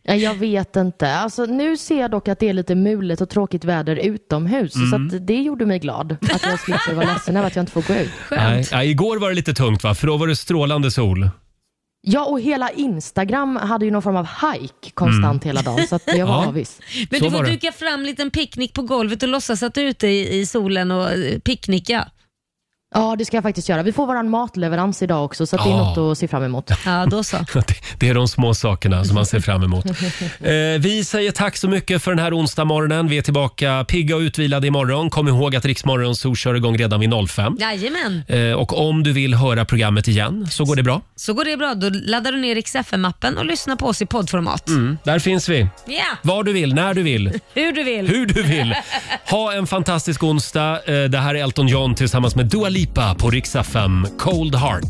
Ja, Jag vet inte. Alltså, nu ser jag dock att det är lite mulet och tråkigt väder utomhus. Så Mm. att det gjorde mig glad. Att jag slipper vara ledsen över att jag inte får gå ut. Nej, nej, igår var det lite tungt, va? för då var det strålande sol. Ja, och hela Instagram hade ju någon form av hike konstant hela dagen. Så att jag var Mm. Ja. avis. Men Så du får var det. duka fram en liten picknick på golvet och låtsas att du är ute i, i solen och eh, picknicka. Ja, det ska jag faktiskt göra. Vi får vår matleverans idag också, så att det är Ja. något att se fram emot. Ja, då så. Det, det är de små sakerna som man ser fram emot. Eh, vi säger tack så mycket för den här onsdag morgonen. Vi är tillbaka pigga och utvilade imorgon. Kom ihåg att Riksmorgon så kör igång redan vid 05. Jajamän. Eh, och om du vill höra programmet igen så går det bra. Så går det bra. Då laddar du ner XFM-appen och lyssnar på oss i poddformat. Mm, där finns vi. Ja, Var du vill, när du vill. hur du vill. Hur du vill. Ha en fantastisk onsdag. Eh, Det här är Elton John tillsammans med Dua Lipa på Riksa 5, Cold Heart.